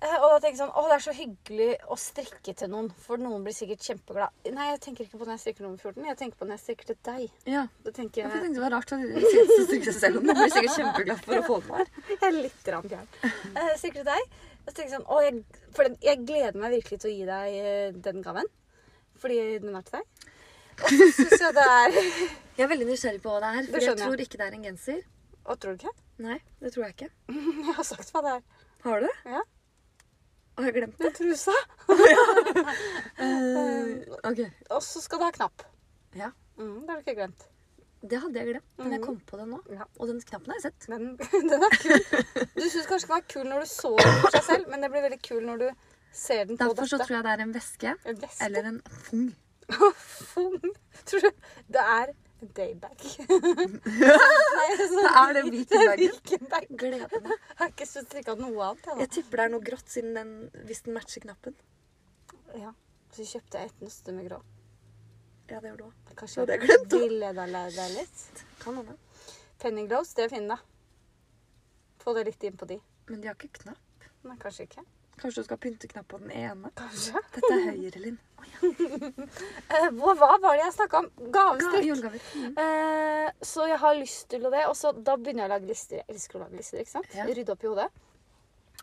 Speaker 1: Eh, Og da tenker jeg sånn Å, det er så hyggelig å strikke til noen, for noen blir sikkert kjempeglad. Nei, jeg tenker ikke på når jeg strikker nummer 14, jeg tenker på når jeg strikker til deg.
Speaker 2: Ja,
Speaker 1: Da tenker
Speaker 2: jeg
Speaker 1: jeg
Speaker 2: tenkte det var rart at de syntes å strikke seg selv om. De blir sikkert kjempeglad for å få den her.
Speaker 1: Jeg er litt grann gæren. Eh, Sikkert til deg. Jeg tenker sånn, å, jeg, for den, jeg gleder meg virkelig til å gi deg eh, den gaven. Fordi den er til deg. Og så synes jeg det er <laughs>
Speaker 2: Jeg er veldig nysgjerrig på hva det er,
Speaker 1: Det
Speaker 2: for jeg
Speaker 1: skjønner jeg.
Speaker 2: tror ikke det er en genser.
Speaker 1: Å, tror du ikke? <laughs>
Speaker 2: Nei, det tror jeg ikke.
Speaker 1: Jeg har sagt hva det er.
Speaker 2: Har du det?
Speaker 1: Ja.
Speaker 2: Har jeg glemt det?
Speaker 1: Den trusa.
Speaker 2: Eh, ok.
Speaker 1: Og så skal det ha knapp.
Speaker 2: Ja.
Speaker 1: Mm, det har du ikke glemt.
Speaker 2: Det hadde jeg glemt, men jeg
Speaker 1: Mhm.
Speaker 2: kom på det nå.
Speaker 1: Ja.
Speaker 2: Og den knappen har jeg sett.
Speaker 1: Men <laughs> den er kul. Du syns kanskje den var kul når du så den for seg selv, men det blir veldig kul når du ser den på
Speaker 2: Derfor så
Speaker 1: dette.
Speaker 2: tror jeg det er en veske
Speaker 1: En vest.
Speaker 2: eller en fung.
Speaker 1: Fung. <laughs> Tror du Det er en <laughs> daybag. Nei, sånn-
Speaker 2: Det er den
Speaker 1: det er
Speaker 2: Viking-bagen.
Speaker 1: Viken-bag.
Speaker 2: Gleder meg.
Speaker 1: Jeg har ikke så strikka noe annet. Jeg,
Speaker 2: Jeg tipper det er noe grått siden den, hvis den matcher knappen.
Speaker 1: da. Ja. Så kjøpte jeg et nøste med grå.
Speaker 2: Ja, det gjør du òg.
Speaker 1: Kanskje
Speaker 2: Ja, det glemte jeg.
Speaker 1: villeda deg litt.
Speaker 2: Kan hende.
Speaker 1: Penny gloves, det er fine, da. Få det litt inn på de.
Speaker 2: Men de har ikke knapp.
Speaker 1: Nei, kanskje ikke.
Speaker 2: Kanskje du skal pynte knapp på den ene?
Speaker 1: Kanskje.
Speaker 2: Dette er høyre, Linn.
Speaker 1: Eh, hva, hva var det jeg snakka om?
Speaker 2: Ga-
Speaker 1: Gavestrikk.
Speaker 2: Julegaver. Mhm.
Speaker 1: Eh, så jeg har lyst til å det. Og så da begynner jeg å lage lister. Jeg elsker å lage lister. ikke sant?
Speaker 2: Ja.
Speaker 1: Rydde opp i hodet.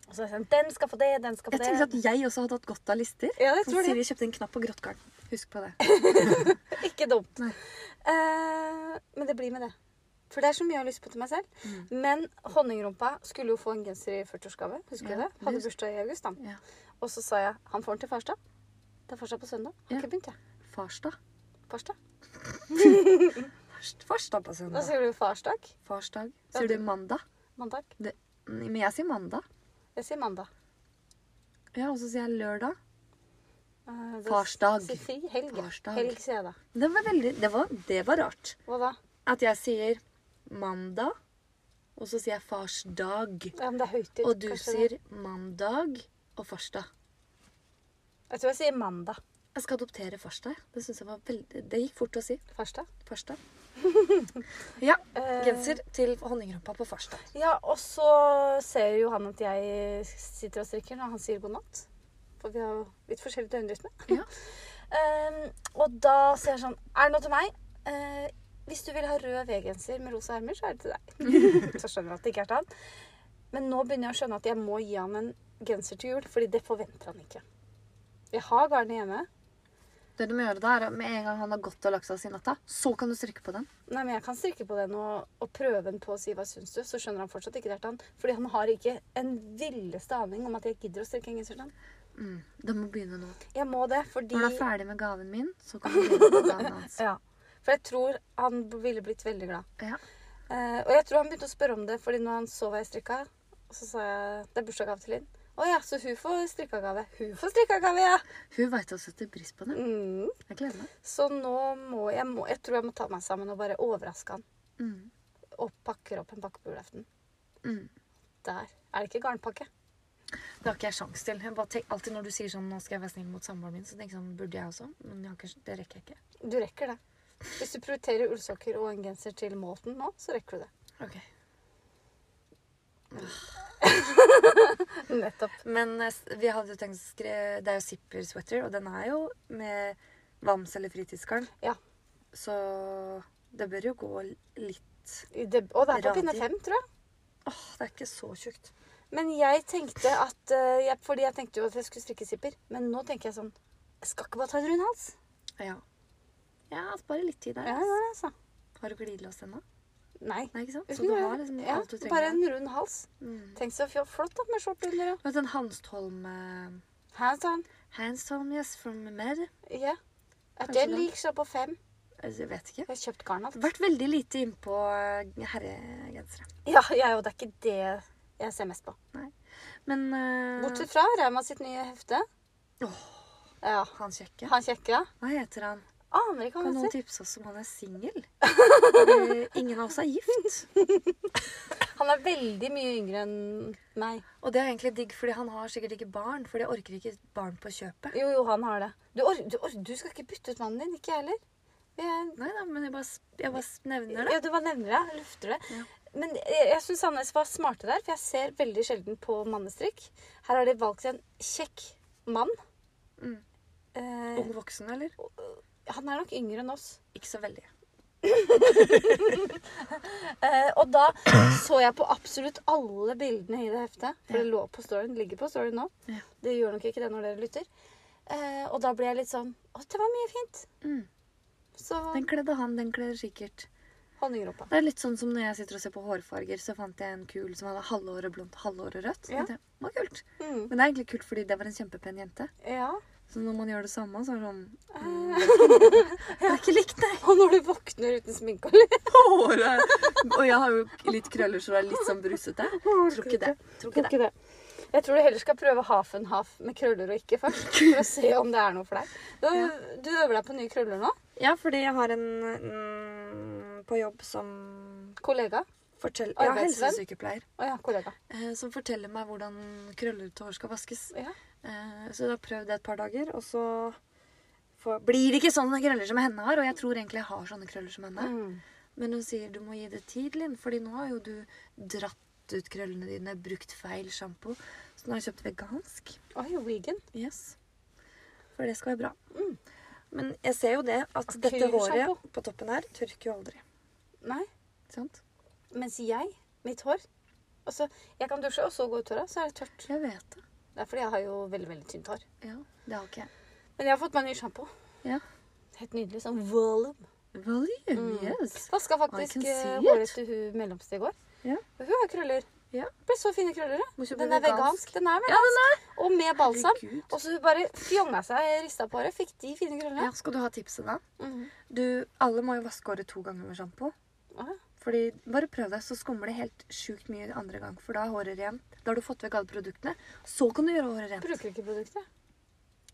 Speaker 1: Og så er jeg sånn Den skal få det, den skal få
Speaker 2: Jeg
Speaker 1: det.
Speaker 2: tenkte at jeg også hadde hatt godt av lister.
Speaker 1: Ja, jeg
Speaker 2: Så
Speaker 1: tror det.
Speaker 2: Siri kjøpte en knapp på grått garn. Husk
Speaker 1: <laughs>
Speaker 2: på det.
Speaker 1: Ikke dumt.
Speaker 2: Nei.
Speaker 1: Eh, men det blir med det. For det er så mye jeg har lyst på til meg selv.
Speaker 2: Mm.
Speaker 1: Men honningrumpa skulle jo få en genser i 40-årsgave. Husker
Speaker 2: Ja,
Speaker 1: du det? Hadde
Speaker 2: det husker-
Speaker 1: bursdag i august, han.
Speaker 2: Ja.
Speaker 1: Og så sa jeg han får den til farsdag. Det er farsdag på søndag. Har
Speaker 2: Ja.
Speaker 1: ikke begynt, jeg.
Speaker 2: Farsdag.
Speaker 1: Farsdag.
Speaker 2: Fars- Farsdag på
Speaker 1: Da
Speaker 2: søndag.
Speaker 1: sier du farsdag.
Speaker 2: Farsdag.
Speaker 1: Ja,
Speaker 2: Sier du
Speaker 1: du-
Speaker 2: mandag?
Speaker 1: Mandag.
Speaker 2: Mm, Men jeg sier mandag.
Speaker 1: Jeg sier mandag.
Speaker 2: Ja, og så sier jeg lørdag.
Speaker 1: Eh, da
Speaker 2: Farsdag.
Speaker 1: sier fri helg.
Speaker 2: Farsdag.
Speaker 1: Helg sier jeg da.
Speaker 2: Det var veldig Det var, det var rart.
Speaker 1: Hva da?
Speaker 2: At jeg sier mandag, og så sier jeg farsdag.
Speaker 1: Ja, men det er høytid.
Speaker 2: Og du
Speaker 1: kanskje det.
Speaker 2: sier mandag og farsdag.
Speaker 1: Jeg tror jeg sier mandag.
Speaker 2: Jeg skal adoptere farsdag. Det synes jeg var veldig Det gikk fort å si.
Speaker 1: Farsdag. <laughs>
Speaker 2: Farsdag. Ja.
Speaker 1: Eh,
Speaker 2: Genser til honningrumpa på farsdag.
Speaker 1: Ja, og så ser jo han at jeg sitter og strikker når han sier god natt. For vi har jo litt forskjellig døgnrytme.
Speaker 2: Ja.
Speaker 1: <laughs> Ehm, og da sier jeg sånn Er det noe til meg? Eh, hvis du vil ha rød V-genser med rosa ermer, så er det til deg.
Speaker 2: <laughs>
Speaker 1: så skjønner jeg at det ikke er til han. Men nå begynner jeg å skjønne at jeg må gi han en genser til jul, fordi det forventer han ikke. Jeg har garnet hjemme.
Speaker 2: Det du må gjøre da, er at med en gang han har gått og lagt seg i natta, så kan du strikke på den.
Speaker 1: Nei, men jeg kan strikke på den og, og prøve den på og si hva syns du, så skjønner han fortsatt ikke det er til han. Fordi han har ikke en villeste aning om at jeg gidder å strikke en genser til han.
Speaker 2: Mm. Det må begynne nå.
Speaker 1: Jeg må det, fordi
Speaker 2: Når du er ferdig med gaven min, så kan du begynne på gaven hans.
Speaker 1: ja. For jeg tror han ville blitt veldig glad.
Speaker 2: <laughs> Ja.
Speaker 1: Eh, og jeg tror han begynte å spørre om det, fordi når han så hva jeg strikka, så sa jeg det er bursdagsgave til Linn. Å ja, så hun får strikkagave. Hun får strikkagave, ja!
Speaker 2: Hun veit å sette pris på det.
Speaker 1: Mm.
Speaker 2: Jeg gleder meg.
Speaker 1: Så nå må jeg må, Jeg tror jeg må ta meg sammen og bare overraske han.
Speaker 2: Mm.
Speaker 1: Og pakker opp en pakke på julaften.
Speaker 2: Mm.
Speaker 1: Der. Er det ikke garnpakke?
Speaker 2: Det har ikke jeg sjans til. Jeg bare tenk, alltid når du sier sånn, nå skal jeg være snill mot samboeren min, så tenker jeg sånn, burde jeg også? Men jeg har ikke, det rekker jeg ikke.
Speaker 1: Du rekker det. Hvis du prioriterer ullsokker og en genser til Molten nå, så rekker du
Speaker 2: <laughs>
Speaker 1: det.
Speaker 2: Ok.
Speaker 1: Nettopp.
Speaker 2: Men eh, s- vi hadde jo tenkt å skrive, det er jo zipper sweater, og den er jo med vams eller fritidsgarn.
Speaker 1: Ja.
Speaker 2: Så Det bør jo gå litt
Speaker 1: Det, og det er på pinne
Speaker 2: Radio.
Speaker 1: fem, tror jeg.
Speaker 2: Åh, det er ikke så tjukt.
Speaker 1: Men jeg tenkte at eh, jeg, Fordi jeg tenkte jo at jeg skulle strikke zipper. Men nå tenker jeg sånn Jeg skal ikke bare ta en rund hals.
Speaker 2: Ja. Ja, spare litt tid der.
Speaker 1: Ja, ja, altså.
Speaker 2: Har du glidelås ennå?
Speaker 1: Nei.
Speaker 2: Nei, ikke sant? Så
Speaker 1: Uten
Speaker 2: du
Speaker 1: å
Speaker 2: har
Speaker 1: gjøre-
Speaker 2: liksom
Speaker 1: ja,
Speaker 2: alt du trenger?
Speaker 1: Bare en rund hals.
Speaker 2: Mm.
Speaker 1: Tenk så fjo- flott da, med skjorte under. og-
Speaker 2: Og den Hanstholm eh,
Speaker 1: Hands on.
Speaker 2: Hanstholm, yes, from Mer.
Speaker 1: Ja. Er
Speaker 2: Kanskje
Speaker 1: det
Speaker 2: den.
Speaker 1: lik seg på fem?
Speaker 2: Altså, Jeg vet ikke.
Speaker 1: Jeg har kjøpt garn alt.
Speaker 2: Vært veldig lite innpå eh, herregensere.
Speaker 1: Ja, jeg òg. Det er ikke det jeg ser mest på.
Speaker 2: Men eh,
Speaker 1: Bortsett fra Rauma sitt nye hefte. Ja.
Speaker 2: han kjekke
Speaker 1: Han kjekke, ja.
Speaker 2: Hva heter han?
Speaker 1: Aner ikke hva
Speaker 2: Kan
Speaker 1: han
Speaker 2: noen
Speaker 1: heter.
Speaker 2: tipse oss om han
Speaker 1: <laughs>
Speaker 2: er singel? Eh, Ingen av oss er gift.
Speaker 1: Han er veldig mye yngre enn meg.
Speaker 2: Og det er egentlig digg, fordi han har sikkert ikke barn. For de orker ikke barn på kjøpet.
Speaker 1: Jo, jo, han har det. Du, or du, or du skal ikke bytte ut mannen din. Ikke jeg heller. Vi er-
Speaker 2: Nei da, men jeg bare, s- jeg bare s- nevner det.
Speaker 1: Ja, du bare nevner det. Lufter det.
Speaker 2: Ja.
Speaker 1: Men jeg, jeg syns Sandnes var smarte der, for jeg ser veldig sjelden på mannestrikk. Her har de valgt en kjekk mann.
Speaker 2: Mm.
Speaker 1: Eh,
Speaker 2: Ung voksen, eller?
Speaker 1: han er nok yngre enn oss.
Speaker 2: Ikke så veldig.
Speaker 1: Eh, og da så jeg på absolutt alle bildene i det heftet. For det lå på storyen. Det ligger på storyen nå.
Speaker 2: Ja.
Speaker 1: Det gjør nok ikke det når dere lytter. Eh, og da ble jeg litt sånn Å, det var mye fint.
Speaker 2: Mm.
Speaker 1: Så
Speaker 2: Den kledde han, den kler sikkert.
Speaker 1: honningroppa.
Speaker 2: Det er litt sånn som når jeg sitter og ser på hårfarger, så fant jeg en kul som hadde halve håret blondt, halve håret rødt.
Speaker 1: Ja.
Speaker 2: Ja. Det var kult.
Speaker 1: Mm.
Speaker 2: Men det er egentlig kult fordi det var en kjempepen jente.
Speaker 1: Ja. <laughs>
Speaker 2: Så når man gjør det samme, så er det sånn mm, Det er ikke likt, nei.
Speaker 1: Og når du våkner uten sminke og litt
Speaker 2: <laughs> Håret. Og jeg har jo litt krøller, så det er litt sånn brusete. Tror ikke det. Tror ikke det.
Speaker 1: Ikke det. Jeg tror du heller skal prøve half and half med krøller og ikke først.
Speaker 2: <laughs>
Speaker 1: For å se om det er noe for deg. Du, du øver deg på nye krøller nå?
Speaker 2: Ja, fordi jeg har en mm, på jobb som
Speaker 1: Kollega?
Speaker 2: forteller Ja,
Speaker 1: Arbeidsvenn?
Speaker 2: helsesykepleier.
Speaker 1: Å ja, kollega.
Speaker 2: eh, Som forteller meg hvordan krøllete hår skal vaskes.
Speaker 1: Ja.
Speaker 2: Eh, Så jeg har prøvd det et par dager, og så får, blir det ikke sånne krøller som henne har. Og jeg tror egentlig jeg har sånne krøller som henne.
Speaker 1: Mm.
Speaker 2: Men hun sier du må gi det tid, Linn, fordi nå har jo du dratt ut krøllene dine, brukt feil sjampo. Så nå har jeg kjøpt vegansk.
Speaker 1: Oi, vegan.
Speaker 2: Yes. For det skal være bra. Men jeg ser jo det at
Speaker 1: Og
Speaker 2: dette
Speaker 1: kursjampo.
Speaker 2: håret på toppen her tørker jo aldri.
Speaker 1: Nei.
Speaker 2: Ikke Sant?
Speaker 1: Mens jeg, mitt hår altså, Jeg kan dusje og så gå ut døra, så er det tørt.
Speaker 2: Jeg vet det.
Speaker 1: Det er fordi jeg har jo veldig veldig tynt hår.
Speaker 2: Ja, det har ikke jeg.
Speaker 1: Men jeg har fått meg ny sjampo.
Speaker 2: Ja.
Speaker 1: Helt nydelig. Sånn volume.
Speaker 2: Volume,
Speaker 1: Mm.
Speaker 2: yes.
Speaker 1: Vaska
Speaker 2: I
Speaker 1: faktisk
Speaker 2: can see
Speaker 1: eh,
Speaker 2: it.
Speaker 1: håret til hun mellomste i går.
Speaker 2: Ja.
Speaker 1: Og Hun har krøller.
Speaker 2: Ja.
Speaker 1: Det Ble så fine krøller, ja.
Speaker 2: Må kjøpe
Speaker 1: Den er vegansk. Den er
Speaker 2: Ja,
Speaker 1: vegansk. Og med balsam.
Speaker 2: Herregud.
Speaker 1: Og så hun bare fjonga seg, rista på håret, fikk de fine krøllene.
Speaker 2: Mm. Ja, skal du ha tipset da?
Speaker 1: Mhm.
Speaker 2: Du, alle må jo vaske håret to ganger med sjampo.
Speaker 1: Å, ja.
Speaker 2: Fordi bare prøv deg, så skummer det helt sjukt mye andre gang. For da er håret rent. Da har du fått vekk alle produktene. Så kan du gjøre håret rent.
Speaker 1: Bruker ikke produktet.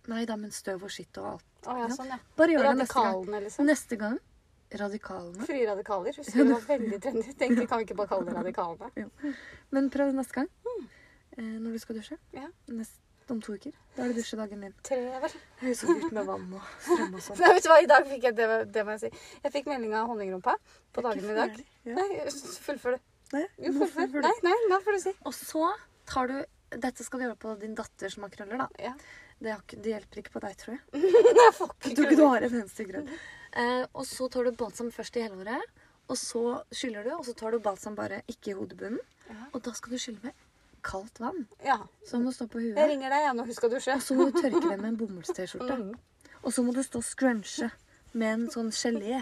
Speaker 2: Nei da, men støv og skitt og alt.
Speaker 1: Å ja,
Speaker 2: Ja.
Speaker 1: sånn, ja.
Speaker 2: Bare gjør det neste gang.
Speaker 1: Radikalene, liksom.
Speaker 2: Neste gang radikalene.
Speaker 1: Frie radikaler. Husker du det var veldig trendy? Tenkte, kan vi ikke bare kalle det radikalene?
Speaker 2: Men prøv det neste gang. Eh, når du skal dusje.
Speaker 1: Ja.
Speaker 2: Nest, om to uker. Da er det dusjedagen din.
Speaker 1: Tre, vel.
Speaker 2: Det er jo så dyrt med vann og strøm og sånn.
Speaker 1: <laughs> Nei, vet du hva, i dag fikk jeg det, det må jeg si. Jeg fikk melding av honningrumpa på dagen i dag.
Speaker 2: Ja.
Speaker 1: Nei, fullfør du.
Speaker 2: Nei,
Speaker 1: Jo,
Speaker 2: nå
Speaker 1: fullfør.
Speaker 2: fullfør du.
Speaker 1: Nei, nei, nå får du si.
Speaker 2: Og så tar du Dette skal du gjøre på din datter som har krøller, da.
Speaker 1: Ja.
Speaker 2: Det, har ikke, det hjelper ikke på deg, tror jeg.
Speaker 1: Nei, jeg får
Speaker 2: Jeg
Speaker 1: ikke
Speaker 2: tror ikke du
Speaker 1: krøller.
Speaker 2: har en eneste grønn. <laughs> Eh, og så tar du balsam først i hele håret. Og så skyller du, og så tar du balsam bare ikke i hodebunnen.
Speaker 1: Ja.
Speaker 2: Og da skal du skylle med kaldt vann.
Speaker 1: Ja.
Speaker 2: Så må du stå på
Speaker 1: Jeg
Speaker 2: huet.
Speaker 1: ringer deg jeg, når hun skal dusje.
Speaker 2: Og så må du tørke det med en bomullst-T-skjorte.
Speaker 1: Mm.
Speaker 2: Og så må du stå og scrunche med en sånn gelé.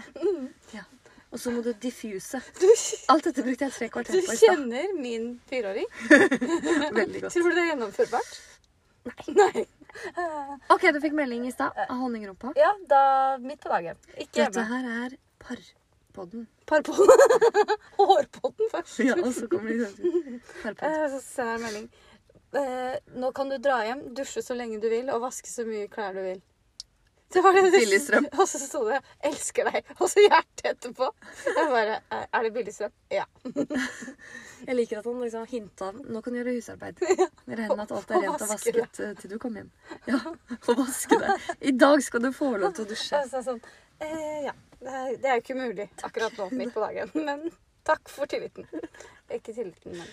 Speaker 2: Ja. Og så må du diffuse.
Speaker 1: Du,
Speaker 2: Alt dette brukte jeg tre
Speaker 1: du
Speaker 2: kvarter på i stad.
Speaker 1: kjenner min fireåring.
Speaker 2: Veldig godt.
Speaker 1: Tror du det er gjennomførbart? <laughs> Nei.
Speaker 2: OK, du fikk melding i stad av honningrumpa.
Speaker 1: Ja, da midt på dagen. Ikke hjemme.
Speaker 2: Dette her er parpodden.
Speaker 1: <laughs> Parpodden. Hårpodden først.
Speaker 2: Ja, <laughs> altså. og så kommer de Parpodden.
Speaker 1: Eh, Så ser jeg en melding. Eh, nå kan du dra hjem, dusje så lenge du vil og vaske så mye klær du vil. Det var det.
Speaker 2: Billigstrøm.
Speaker 1: <laughs> Og så sto det 'elsker deg', <laughs> og så hjertet etterpå. Jeg bare, eh, Er det billigstrøm? Ja.
Speaker 2: <laughs> Jeg liker at han liksom hinta om Nå kan du gjøre <laughs> husarbeid. Med regner at alt er
Speaker 1: Og
Speaker 2: rent og
Speaker 1: vaske
Speaker 2: vasket eh, til du kommer hjem. Ja, Og vaske det. I dag skal du få lov til å dusje.
Speaker 1: Og så er det sånn, eh, ja. Det er- Det er jo ikke mulig akkurat nå midt på dagen, <laughs> men takk for tilliten. Ikke tilliten, men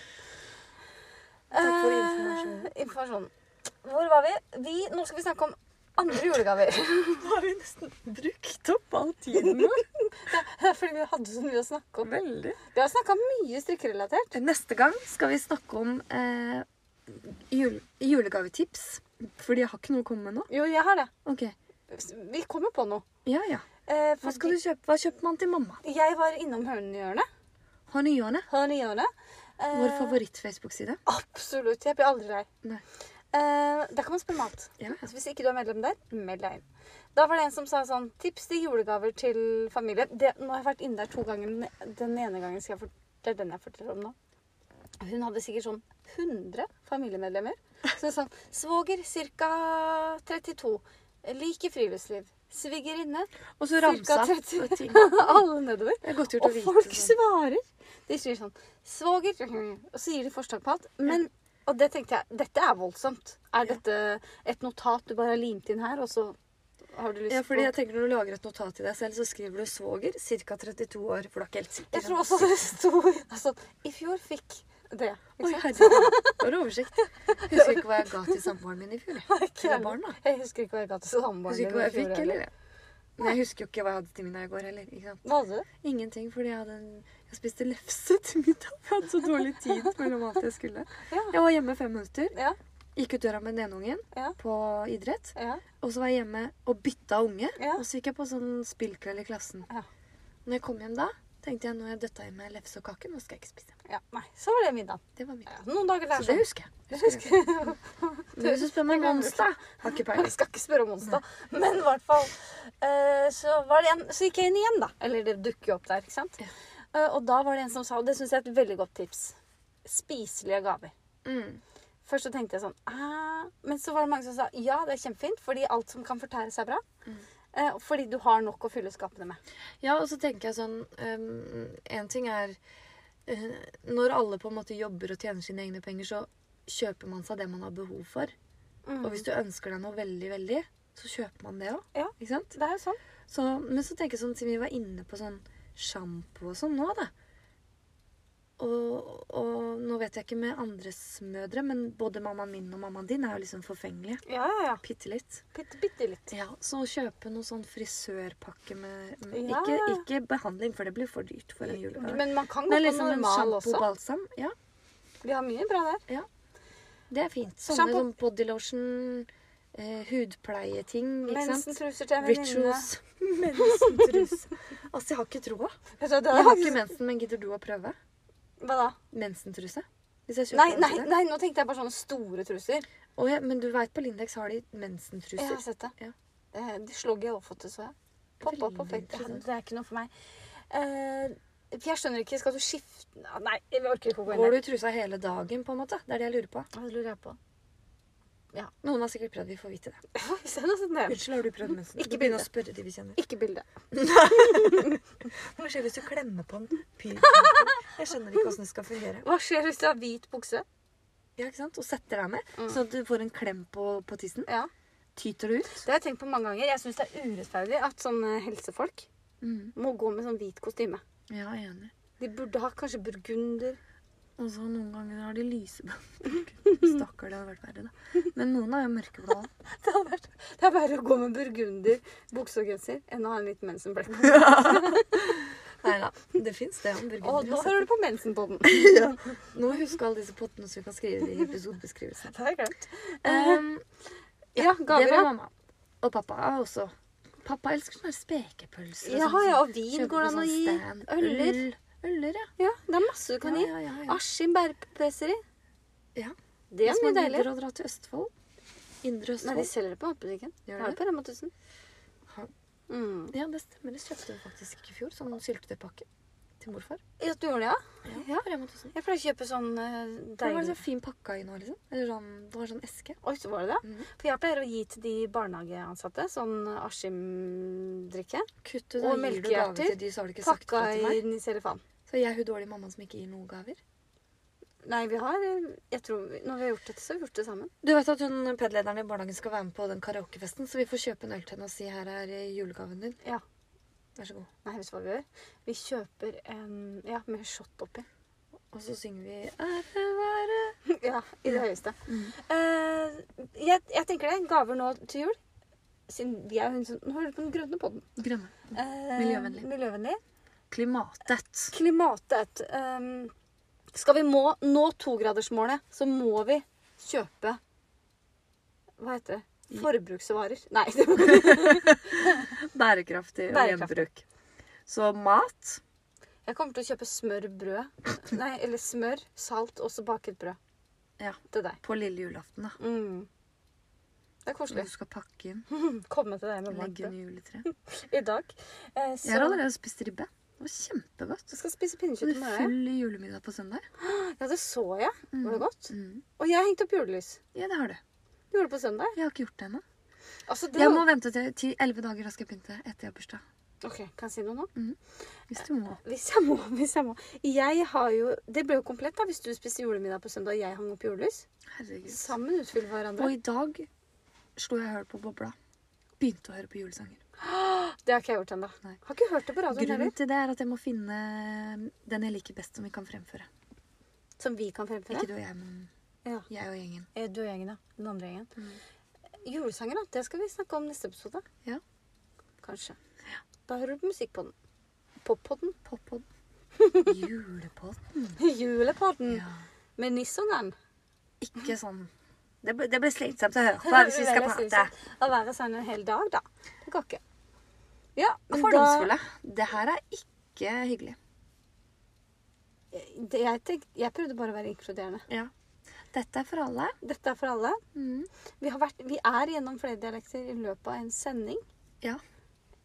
Speaker 2: Takk for
Speaker 1: Eh,
Speaker 2: informasjonen.
Speaker 1: informasjonen. Hvor var vi? vi? Nå skal vi snakke om Andre julegaver.
Speaker 2: Nå har vi nesten brukt opp all tiden vår.
Speaker 1: Det er fordi vi hadde så mye å snakke om.
Speaker 2: <laughs> Veldig.
Speaker 1: Vi har snakka mye strikkerelatert.
Speaker 2: Neste gang skal vi snakke om eh, jul julegavetips. Fordi jeg har ikke noe å komme med nå.
Speaker 1: Jo, jeg har det.
Speaker 2: Ok.
Speaker 1: Vi kommer på noe.
Speaker 2: Ja, ja.
Speaker 1: Eh,
Speaker 2: Hva skal du kjøpe? Hva kjøper man til mamma?
Speaker 1: Jeg var innom Hønehjørnet.
Speaker 2: Honningjørnet.
Speaker 1: Hønehjørnet. Eh,
Speaker 2: Vår favoritt-Facebook-side.
Speaker 1: Absolutt. Jeg blir aldri lei.
Speaker 2: Nei.
Speaker 1: Eh, der kan man spørre mat.
Speaker 2: Ja, ja.
Speaker 1: Altså, hvis ikke du er medlem der, meld deg inn. Da var det en som sa sånn Tips til julegaver til familien. Det, nå har jeg vært inne der to ganger. men Den ene gangen skal jeg fort- det er den jeg forteller om nå. Hun hadde sikkert sånn 100 familiemedlemmer. Så det er sånn Svoger ca. 32. Liker friluftsliv. Svigerinne. <laughs>
Speaker 2: Og så
Speaker 1: Cirka
Speaker 2: ramsa opp
Speaker 1: 30.
Speaker 2: og ting.
Speaker 1: Alle nedover.
Speaker 2: Det er godt <laughs> gjort å
Speaker 1: Og
Speaker 2: vite.
Speaker 1: folk
Speaker 2: sånn.
Speaker 1: svarer. De sier sånn Svoger Og så gir de forslag på alt. Men, og det tenkte jeg, dette er voldsomt. Er
Speaker 2: Ja.
Speaker 1: dette et notat du bare har limt inn her, og så har du lyst
Speaker 2: Ja, fordi
Speaker 1: på
Speaker 2: jeg tenker Når du lager et notat til deg selv, så skriver du 'svoger', ca. 32 år. For du er ikke helt sikker.
Speaker 1: Jeg tror også det sto altså, I fjor fikk det.
Speaker 2: Oi,
Speaker 1: Ikke sant?
Speaker 2: herregud. For oversikt. Jeg husker ikke hva jeg ga til samboeren min i fjor. jeg.
Speaker 1: Ikke
Speaker 2: Hun var
Speaker 1: heller.
Speaker 2: barn, da.
Speaker 1: Jeg husker ikke hva jeg ga til
Speaker 2: Jeg
Speaker 1: samboeren
Speaker 2: husker ikke hva jeg
Speaker 1: i fjor
Speaker 2: fikk
Speaker 1: heller.
Speaker 2: heller. jeg. Men jeg husker jo ikke hva jeg hadde til middag i går heller. ikke sant?
Speaker 1: Hva hadde du?
Speaker 2: Ingenting, fordi jeg hadde en Jeg spiste lefse til middag. Jeg hadde så dårlig tid mellom alt jeg skulle.
Speaker 1: Ja.
Speaker 2: Jeg var hjemme fem minutter.
Speaker 1: Ja.
Speaker 2: Gikk ut døra med den ene ungen
Speaker 1: Ja.
Speaker 2: på idrett.
Speaker 1: ja.
Speaker 2: Og så var jeg hjemme og bytta unge.
Speaker 1: Ja.
Speaker 2: Og så gikk jeg på sånn spillkveld i klassen.
Speaker 1: Ja.
Speaker 2: Når jeg kom hjem da, tenkte jeg nå har jeg døtta i meg lefse og kake. Nå skal jeg ikke spise.
Speaker 1: ja. Nei, så var det middag.
Speaker 2: Det var middag.
Speaker 1: Ja, Noen dager
Speaker 2: Så
Speaker 1: der,
Speaker 2: det
Speaker 1: sånn.
Speaker 2: husker jeg. Det husker jeg. Men hvis du spør meg om onsdag, har ikke
Speaker 1: Jeg <laughs>
Speaker 2: peiling.
Speaker 1: skal ikke spørre om onsdag, men i hvert fall. eh, så, var det en, så gikk jeg inn igjen, da. Eller det dukker jo opp der, ikke sant.
Speaker 2: Ja.
Speaker 1: Eh, og da var det en som sa, og det syns jeg er et veldig godt tips, spiselige gaver.
Speaker 2: Mm.
Speaker 1: Først så tenkte jeg sånn «Ah», Men så var det mange som sa ja, det er kjempefint, fordi alt som kan fortæres, er bra.
Speaker 2: Mm.
Speaker 1: Eh, fordi du har nok å fylle skapene med.
Speaker 2: Ja, og så tenker jeg sånn um, En ting er eh, Når alle på en måte jobber og tjener sine egne penger, så kjøper man seg det man har behov for. Og hvis du ønsker deg noe veldig, veldig, så kjøper man det òg.
Speaker 1: Mm. Ja.
Speaker 2: Ikke sant?
Speaker 1: Det er jo sånn.
Speaker 2: Så, men så tenker jeg sånn, siden vi var inne på sånn sjampo og sånn nå, da. Og, og nå vet jeg ikke med andres mødre, men både mammaen min og mammaen din er jo liksom forfengelige.
Speaker 1: Ja, ja, ja.
Speaker 2: Bitte litt.
Speaker 1: Bitte, bitte litt.
Speaker 2: Ja, så kjøpe noe sånn frisørpakke med, med
Speaker 1: Ja.
Speaker 2: ikke, ikke behandling, for det blir for dyrt for en julegave.
Speaker 1: Men man kan gå på
Speaker 2: Men Mm. liksom en
Speaker 1: normal også.
Speaker 2: sjampo-balsam. Ja,
Speaker 1: Vi har mye bra der.
Speaker 2: det er fint. Sånne
Speaker 1: Shampoo.
Speaker 2: som body lotion, eh, hudpleieting, ikke sant?
Speaker 1: Mensentruser til en venninne.
Speaker 2: <laughs> Rituals. Mensentrus. <laughs> Altså, jeg har ikke troa.
Speaker 1: Vet du hva, det er
Speaker 2: Jeg har
Speaker 1: faktisk-
Speaker 2: ikke mensen, men gidder du å prøve?
Speaker 1: Hva da?
Speaker 2: Mensentruse? Hvis jeg kjøper
Speaker 1: Nei,
Speaker 2: den
Speaker 1: nei,
Speaker 2: til deg?
Speaker 1: nei, nå tenkte jeg bare sånne store truser.
Speaker 2: Å ja, men du veit på Lindex har de
Speaker 1: Jeg har
Speaker 2: mensentruser.
Speaker 1: sett det.
Speaker 2: Ja.
Speaker 1: Eh, De slogger jeg også, så jeg. Poppa opp på
Speaker 2: Veldig
Speaker 1: Facebook. Ja,
Speaker 2: interessant.
Speaker 1: Det er ikke noe for meg. Eh, for jeg skjønner ikke, skal du skifte Nei, jeg orker ikke å gå inn der.
Speaker 2: Går du i trusa hele dagen, på en måte? Det er det jeg lurer på.
Speaker 1: Hva lurer jeg <laughs> på?
Speaker 2: Noen har sikkert prøvd, vi får vite det.
Speaker 1: Oi, se nå, sånn der.
Speaker 2: Unnskyld, har du prøvd mensen?
Speaker 1: Ikke
Speaker 2: Ikke begynn å
Speaker 1: bildet.
Speaker 2: spørre de vi kjenner.
Speaker 1: Ikke bilde.
Speaker 2: Hva skjer hvis du klemmer på en pyr? Jeg skjønner ikke hvordan det skal fungere.
Speaker 1: Hva skjer hvis du har hvit bukse?
Speaker 2: Ja, ikke sant? Og setter deg med, så at du får en klem på, på tissen.
Speaker 1: Ja.
Speaker 2: Tyter du ut?
Speaker 1: Det har jeg tenkt på mange ganger. Jeg syns det er urettferdig at sånne helsefolk må gå med sånn hvit kostyme.
Speaker 2: Mm. Ja, jeg er enig.
Speaker 1: De burde ha kanskje burgunder.
Speaker 2: Og så noen ganger har de lyse <laughs> Stakkar, det hadde vært verre, da. Men noen har jo mørkeblå.
Speaker 1: <laughs> Det, hadde vært, det er verre å gå med burgunder, bukse og genser enn å ha en liten mensenblekk.
Speaker 2: Nei da. Det fins, det.
Speaker 1: Å, nå
Speaker 2: Hamburgere.
Speaker 1: hører du på mensenpodden.
Speaker 2: <laughs> Nå husker alle disse pottene som vi kan skrive i episodebeskrivelsen.
Speaker 1: <laughs> Det har jeg glemt.
Speaker 2: Um,
Speaker 1: Eh, <laughs> Ja, gaver,
Speaker 2: det var
Speaker 1: ja.
Speaker 2: mamma. Og pappa også. Pappa elsker sånne spekepølser. og
Speaker 1: Ja,
Speaker 2: sånn
Speaker 1: ja,
Speaker 2: som
Speaker 1: og vin
Speaker 2: kjøper
Speaker 1: går det
Speaker 2: på
Speaker 1: an å
Speaker 2: sånn
Speaker 1: gi.
Speaker 2: stand.
Speaker 1: Øller.
Speaker 2: Øl. Øller, ja.
Speaker 1: Ja, det er masse du kan
Speaker 2: Ja,
Speaker 1: gi.
Speaker 2: ja, ja, ja.
Speaker 1: Askim bærpresseri.
Speaker 2: Ja.
Speaker 1: Det er
Speaker 2: Hvis
Speaker 1: mye
Speaker 2: man
Speaker 1: deilig.
Speaker 2: gidder å dra til Østfold. Indre
Speaker 1: Nei, de
Speaker 2: Østfold.
Speaker 1: selger det på matbutikken.
Speaker 2: Gjør
Speaker 1: Har
Speaker 2: det?
Speaker 1: det på Rema 1000.
Speaker 2: Har-
Speaker 1: Mm.
Speaker 2: Ja, det stemmer. Det kjøpte vi faktisk ikke i fjor. Sånn syltetøypakke til morfar.
Speaker 1: Ja, du gjorde det, ja?
Speaker 2: Ja, Rema 1000.
Speaker 1: Jeg pleier å kjøpe sånn eh,
Speaker 2: Det var
Speaker 1: deilig
Speaker 2: så fin pakka i nå, liksom. Eller sånn, det var sånn eske.
Speaker 1: Oi, så var det det?
Speaker 2: Mhm.
Speaker 1: For jeg pleier å gi til de barnehageansatte sånn Askim-drikke.
Speaker 2: Kutt ut,
Speaker 1: Og
Speaker 2: da gir du gave
Speaker 1: melkejerter.
Speaker 2: til de, så har du ikke sagt det
Speaker 1: Pakka
Speaker 2: til
Speaker 1: i
Speaker 2: meg.
Speaker 1: nisselefan.
Speaker 2: Så jeg er hun dårlige mammaen som ikke gir noen gaver.
Speaker 1: Nei, vi har eh, Jeg tror vi- Når vi har gjort dette, så har vi gjort det sammen.
Speaker 2: Du vet at hun, PED-lederen i barnehagen skal være med på den karaokefesten, så vi får kjøpe en øl til henne og si her er julegaven din.
Speaker 1: Ja.
Speaker 2: Vær så god.
Speaker 1: Nei, vet du hva vi gjør? Vi kjøper en Ja, med shot oppi.
Speaker 2: Og så synger vi ære være Mm.
Speaker 1: Ja, i det høyeste. Eh, jeg, jeg tenker det. Gaver nå til jul. Siden vi er jo hun som Nå hører du på den grønne podden.
Speaker 2: Grønne.
Speaker 1: Eh,
Speaker 2: Miljøvennlig.
Speaker 1: miljøvennlig.
Speaker 2: Klimatet.
Speaker 1: Klimatet. ehm, skal vi må, nå togradersmålet, så må vi kjøpe Hva heter det? Forbruksvarer. Nei. <laughs> det var-
Speaker 2: Bærekraftig, og
Speaker 1: Bærekraftig.
Speaker 2: gjenbruk. Så mat
Speaker 1: Jeg kommer til å kjøpe smør, brød. Nei, eller smør, salt og så baket brød.
Speaker 2: Ja.
Speaker 1: Til deg.
Speaker 2: på lille julaften, da.
Speaker 1: Mm. Det er
Speaker 2: Når
Speaker 1: koselig.
Speaker 2: du skal pakke inn,
Speaker 1: Komme til deg med
Speaker 2: legge
Speaker 1: mat
Speaker 2: inn i juletreet.
Speaker 1: i dag. Eh,
Speaker 2: Jeg har
Speaker 1: <laughs> så
Speaker 2: allerede spist ribbe. Det var kjempegodt.
Speaker 1: du skal spise
Speaker 2: Så det
Speaker 1: pinnekjøtt
Speaker 2: er
Speaker 1: med deg.
Speaker 2: full julemiddag på søndag.
Speaker 1: Ja, det så jeg. Var det godt?
Speaker 2: Mm.
Speaker 1: Og jeg hengte opp julelys.
Speaker 2: Ja, det har du.
Speaker 1: Du gjorde det på søndag.
Speaker 2: Jeg har ikke gjort det ennå.
Speaker 1: Altså, det
Speaker 2: Jeg
Speaker 1: var-
Speaker 2: må vente til ti- elleve dager da skal jeg pynte etter jeg har bursdag.
Speaker 1: Ok, kan jeg si noe nå?
Speaker 2: Hvis du må.
Speaker 1: Hvis jeg må, <laughs> hvis jeg må. Jeg har jo, det ble jo komplett da, hvis du spiste julemiddag på søndag og jeg hang opp julelys.
Speaker 2: Herregud.
Speaker 1: Sammen utfyller hverandre.
Speaker 2: Og i dag slo jeg hull på bobla. Begynte å høre på julesanger.
Speaker 1: Det har ikke jeg gjort ennå.
Speaker 2: Nei.
Speaker 1: Har ikke hørt det på radioen
Speaker 2: Grunnen
Speaker 1: heller.
Speaker 2: til det er at jeg må finne den jeg liker best, som vi kan fremføre.
Speaker 1: Som vi kan fremføre.
Speaker 2: Ikke du og jeg, men
Speaker 1: Ja.
Speaker 2: jeg og gjengen.
Speaker 1: Eh, Du og gjengen, ja. Den andre gjengen. Julesanger, da. Det skal vi snakke om neste episode.
Speaker 2: Ja.
Speaker 1: Kanskje. Da hører du på musikk på den. <laughs> Pop-podden.
Speaker 2: Poppod. <laughs> Julepodden.
Speaker 1: Julepodden.
Speaker 2: Ja.
Speaker 1: Med nissungeren.
Speaker 2: Ikke sånn. Det ble, det ble slitsomt å høre på hvis <laughs> vi skal prate.
Speaker 1: Å være sånn en hel dag, da. Det går ikke. Ja, men
Speaker 2: Fordomsfulle. Det her er ikke hyggelig.
Speaker 1: da det, jeg, tenkte, jeg prøvde bare å være inkluderende.
Speaker 2: Ja. Dette er for alle.
Speaker 1: Dette er for alle.
Speaker 2: Mm.
Speaker 1: Vi, har vært, vi er gjennom flere dialekter i løpet av en sending.
Speaker 2: Ja.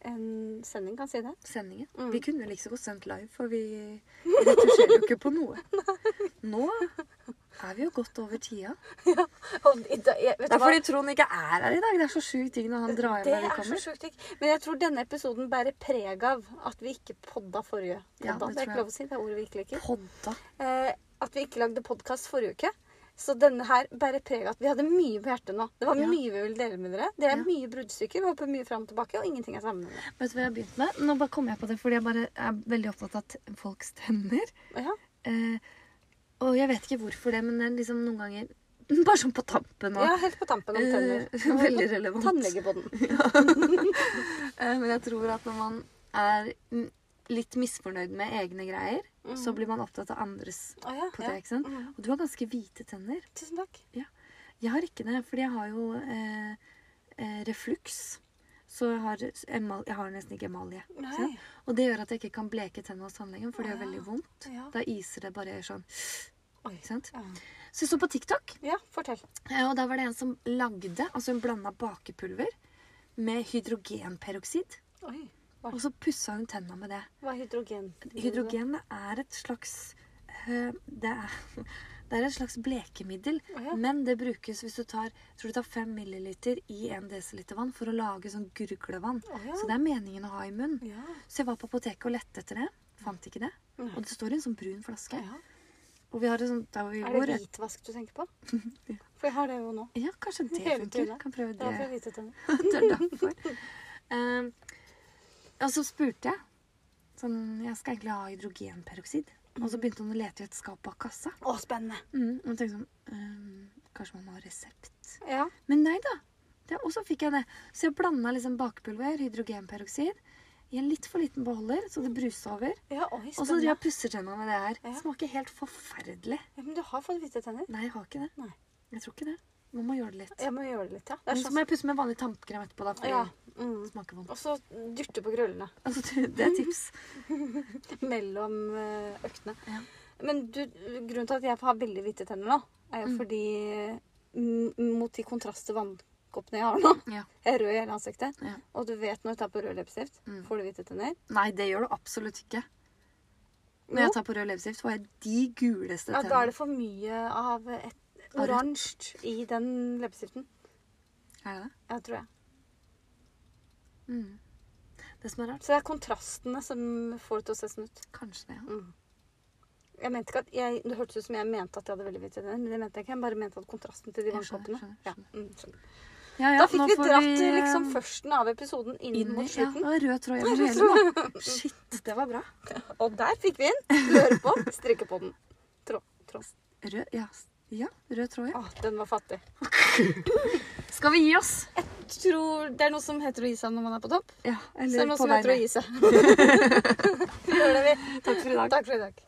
Speaker 1: En sending, kan jeg si det.
Speaker 2: Sendingen.
Speaker 1: Mm.
Speaker 2: Vi kunne jo like så godt sendt live, for vi retusjerer jo ikke på <laughs> noe. Nå er vi jo godt over tida.
Speaker 1: Og i dag- jeg- vet
Speaker 2: Det
Speaker 1: du hva?
Speaker 2: er fordi Trond ikke er her i dag. Det er så sjukt ting når han drar hjem
Speaker 1: Det
Speaker 2: når
Speaker 1: er
Speaker 2: vi
Speaker 1: så
Speaker 2: kommer.
Speaker 1: sjukt. ikke? Men jeg tror denne episoden bærer preg av at vi ikke podda forrige.
Speaker 2: Ja,
Speaker 1: Podda,
Speaker 2: det
Speaker 1: det er
Speaker 2: tror
Speaker 1: ikke
Speaker 2: jeg.
Speaker 1: lov å si. Det er ordet vi ikke liker.
Speaker 2: Podda.
Speaker 1: Eh, at vi ikke lagde podkast forrige uke. Så denne her bærer preg av at vi hadde mye på hjertet nå. Det var
Speaker 2: Ja.
Speaker 1: mye vi ville dele med dere. Det er
Speaker 2: Ja.
Speaker 1: mye bruddstykker. Vi hopper mye fram og tilbake, og ingenting er sammenhengende.
Speaker 2: Vet du hva jeg har begynt med? Nå bare kom jeg på det, fordi jeg bare er veldig opptatt av t- folks tenner.
Speaker 1: Ja.
Speaker 2: Eh, og jeg vet ikke hvorfor det, men det er liksom noen ganger <laughs> Bare sånn på tampen og
Speaker 1: ja, helt på tampen om tenner.
Speaker 2: Eh, <laughs> veldig relevant. <laughs>
Speaker 1: Tannlegepodden.
Speaker 2: Eh, Men jeg tror at når man er mm, litt misfornøyd med egne greier,
Speaker 1: Mhm.
Speaker 2: så blir man opptatt av andres
Speaker 1: Å ja,
Speaker 2: på det.
Speaker 1: ja.
Speaker 2: ikke sant?
Speaker 1: Mhm.
Speaker 2: Og du har ganske hvite tenner.
Speaker 1: Tusen takk.
Speaker 2: Jeg har ikke det, fordi jeg har jo eh, eh, refluks. Så jeg har, emal, jeg har nesten ikke emalje. ikke
Speaker 1: Nei.
Speaker 2: sant? Og det gjør at jeg ikke kan bleke tennene hos tannlegen, for det gjør
Speaker 1: Ja.
Speaker 2: veldig vondt.
Speaker 1: Ja.
Speaker 2: Da iser det bare jeg gjør sånn.
Speaker 1: Oi.
Speaker 2: Ikke sant?
Speaker 1: Ja.
Speaker 2: Så jeg så på TikTok,
Speaker 1: Ja, fortell.
Speaker 2: eh, og da var det en som lagde Altså hun blanda bakepulver med hydrogenperoksid.
Speaker 1: Oi.
Speaker 2: Og så pussa hun tenna med det.
Speaker 1: Hva er hydrogen?
Speaker 2: Hydrogen det er et slags eh, det er, <laughs> det er et slags blekemiddel,
Speaker 1: Å ja.
Speaker 2: men det brukes hvis du tar jeg tror du tar 5 milliliter i 1 dl vann for å lage sånn gurglevann.
Speaker 1: Å ja.
Speaker 2: Så det er meningen å ha i munnen.
Speaker 1: Ja. Mm.
Speaker 2: Så jeg var på apoteket og lette etter det. Fant ikke det.
Speaker 1: Nei.
Speaker 2: Og det står i en sånn brun flaske.
Speaker 1: ja.
Speaker 2: Og vi har et sånt der hvor vi
Speaker 1: Er
Speaker 2: bor.
Speaker 1: det hvitvask du tenker
Speaker 2: <laughs>
Speaker 1: på? For jeg har det jo nå.
Speaker 2: Ja, kanskje
Speaker 1: <laughs>
Speaker 2: det
Speaker 1: Hele
Speaker 2: funker.
Speaker 1: tiden.
Speaker 2: Kan prøve
Speaker 1: Det er fra
Speaker 2: det.
Speaker 1: hvite tenner.
Speaker 2: <laughs> det er derfor. Eh, og så spurte jeg. Sånn, jeg skal egentlig ha hydrogenperoksid. Og
Speaker 1: Mm.
Speaker 2: så begynte hun å lete i et skap bak kassa.
Speaker 1: Å, spennende.
Speaker 2: Mm, og tenkte sånn ehm, Kanskje man må ha resept.
Speaker 1: Ja.
Speaker 2: Men nei da. Det, og så fikk jeg det. Så jeg blanda liksom bakepulver, hydrogenperoksid, i en litt for liten beholder, så det brusa over.
Speaker 1: ja oi,
Speaker 2: Og så driver
Speaker 1: spennende.
Speaker 2: jeg og pusser tenna med det her.
Speaker 1: Ja.
Speaker 2: Smaker helt forferdelig.
Speaker 1: Ja, men du har fått hvite tenner.
Speaker 2: Nei, jeg har ikke det.
Speaker 1: Nei.
Speaker 2: Jeg tror ikke det. Man må gjøre det litt.
Speaker 1: Jeg må gjøre det litt, ja. Det
Speaker 2: Men
Speaker 1: er
Speaker 2: så
Speaker 1: sånn.
Speaker 2: må jeg pusse med vanlig tannkrem etterpå, da, for
Speaker 1: Ja.
Speaker 2: det
Speaker 1: Mm.
Speaker 2: smaker vondt.
Speaker 1: Og så dyrte på krøllene <laughs>
Speaker 2: Altså, det- det er tips.
Speaker 1: mellom eh, øktene.
Speaker 2: Ja.
Speaker 1: Men du, grunnen til at jeg har veldig hvite tenner nå, er jo
Speaker 2: Mm.
Speaker 1: fordi mm, Mot de kontraste vannkoppene jeg har nå. <laughs>
Speaker 2: Ja.
Speaker 1: Jeg er rød i hele ansiktet.
Speaker 2: Ja.
Speaker 1: Og du vet når du tar på rød leppestift,
Speaker 2: Mm.
Speaker 1: får du hvite tenner.
Speaker 2: Nei, det gjør du absolutt ikke. Når
Speaker 1: Jo.
Speaker 2: jeg tar på rød leppestift, får jeg de guleste
Speaker 1: Ja, da er
Speaker 2: tennene.
Speaker 1: det for mye av et
Speaker 2: Av rødt.
Speaker 1: oransje i den leppestiften.
Speaker 2: Er det det?
Speaker 1: Ja, tror jeg.
Speaker 2: Mm. Det som er rart,
Speaker 1: Så det er kontrastene som får det til å se sånn ut.
Speaker 2: kanskje det, ja.
Speaker 1: Jeg mente ikke at jeg, Det hørtes ut som jeg mente at jeg hadde veldig hvite tenner, men det mente jeg ikke. Jeg bare mente at kontrasten til de
Speaker 2: Jeg skjønner,
Speaker 1: vannkoppene
Speaker 2: skjønner,
Speaker 1: ja.
Speaker 2: skjønner.
Speaker 1: mm, skjønner.
Speaker 2: Ja, ja,
Speaker 1: Da fikk
Speaker 2: nå
Speaker 1: vi
Speaker 2: får
Speaker 1: dratt liksom
Speaker 2: eh,
Speaker 1: førsten av episoden inn,
Speaker 2: inn i
Speaker 1: mot
Speaker 2: ja,
Speaker 1: slutten.
Speaker 2: og rød tråd gjennom
Speaker 1: Rød
Speaker 2: hele. <laughs> nå. Shit, det var bra.
Speaker 1: Og der fikk vi inn løre på, strikke på den. Trå, trå.
Speaker 2: Rød, ja. s- ja, rød tråd, ja.
Speaker 1: Å, den var fattig.
Speaker 2: Skal vi gi oss?
Speaker 1: tror det er noe som heter å gi seg når man er på topp.
Speaker 2: Ja,
Speaker 1: Så det er
Speaker 2: eller
Speaker 1: noe
Speaker 2: på
Speaker 1: som heter å
Speaker 2: vei
Speaker 1: <laughs>
Speaker 2: ned.
Speaker 1: gi seg. det var det vi.
Speaker 2: Takk for i dag.
Speaker 1: Takk for i dag.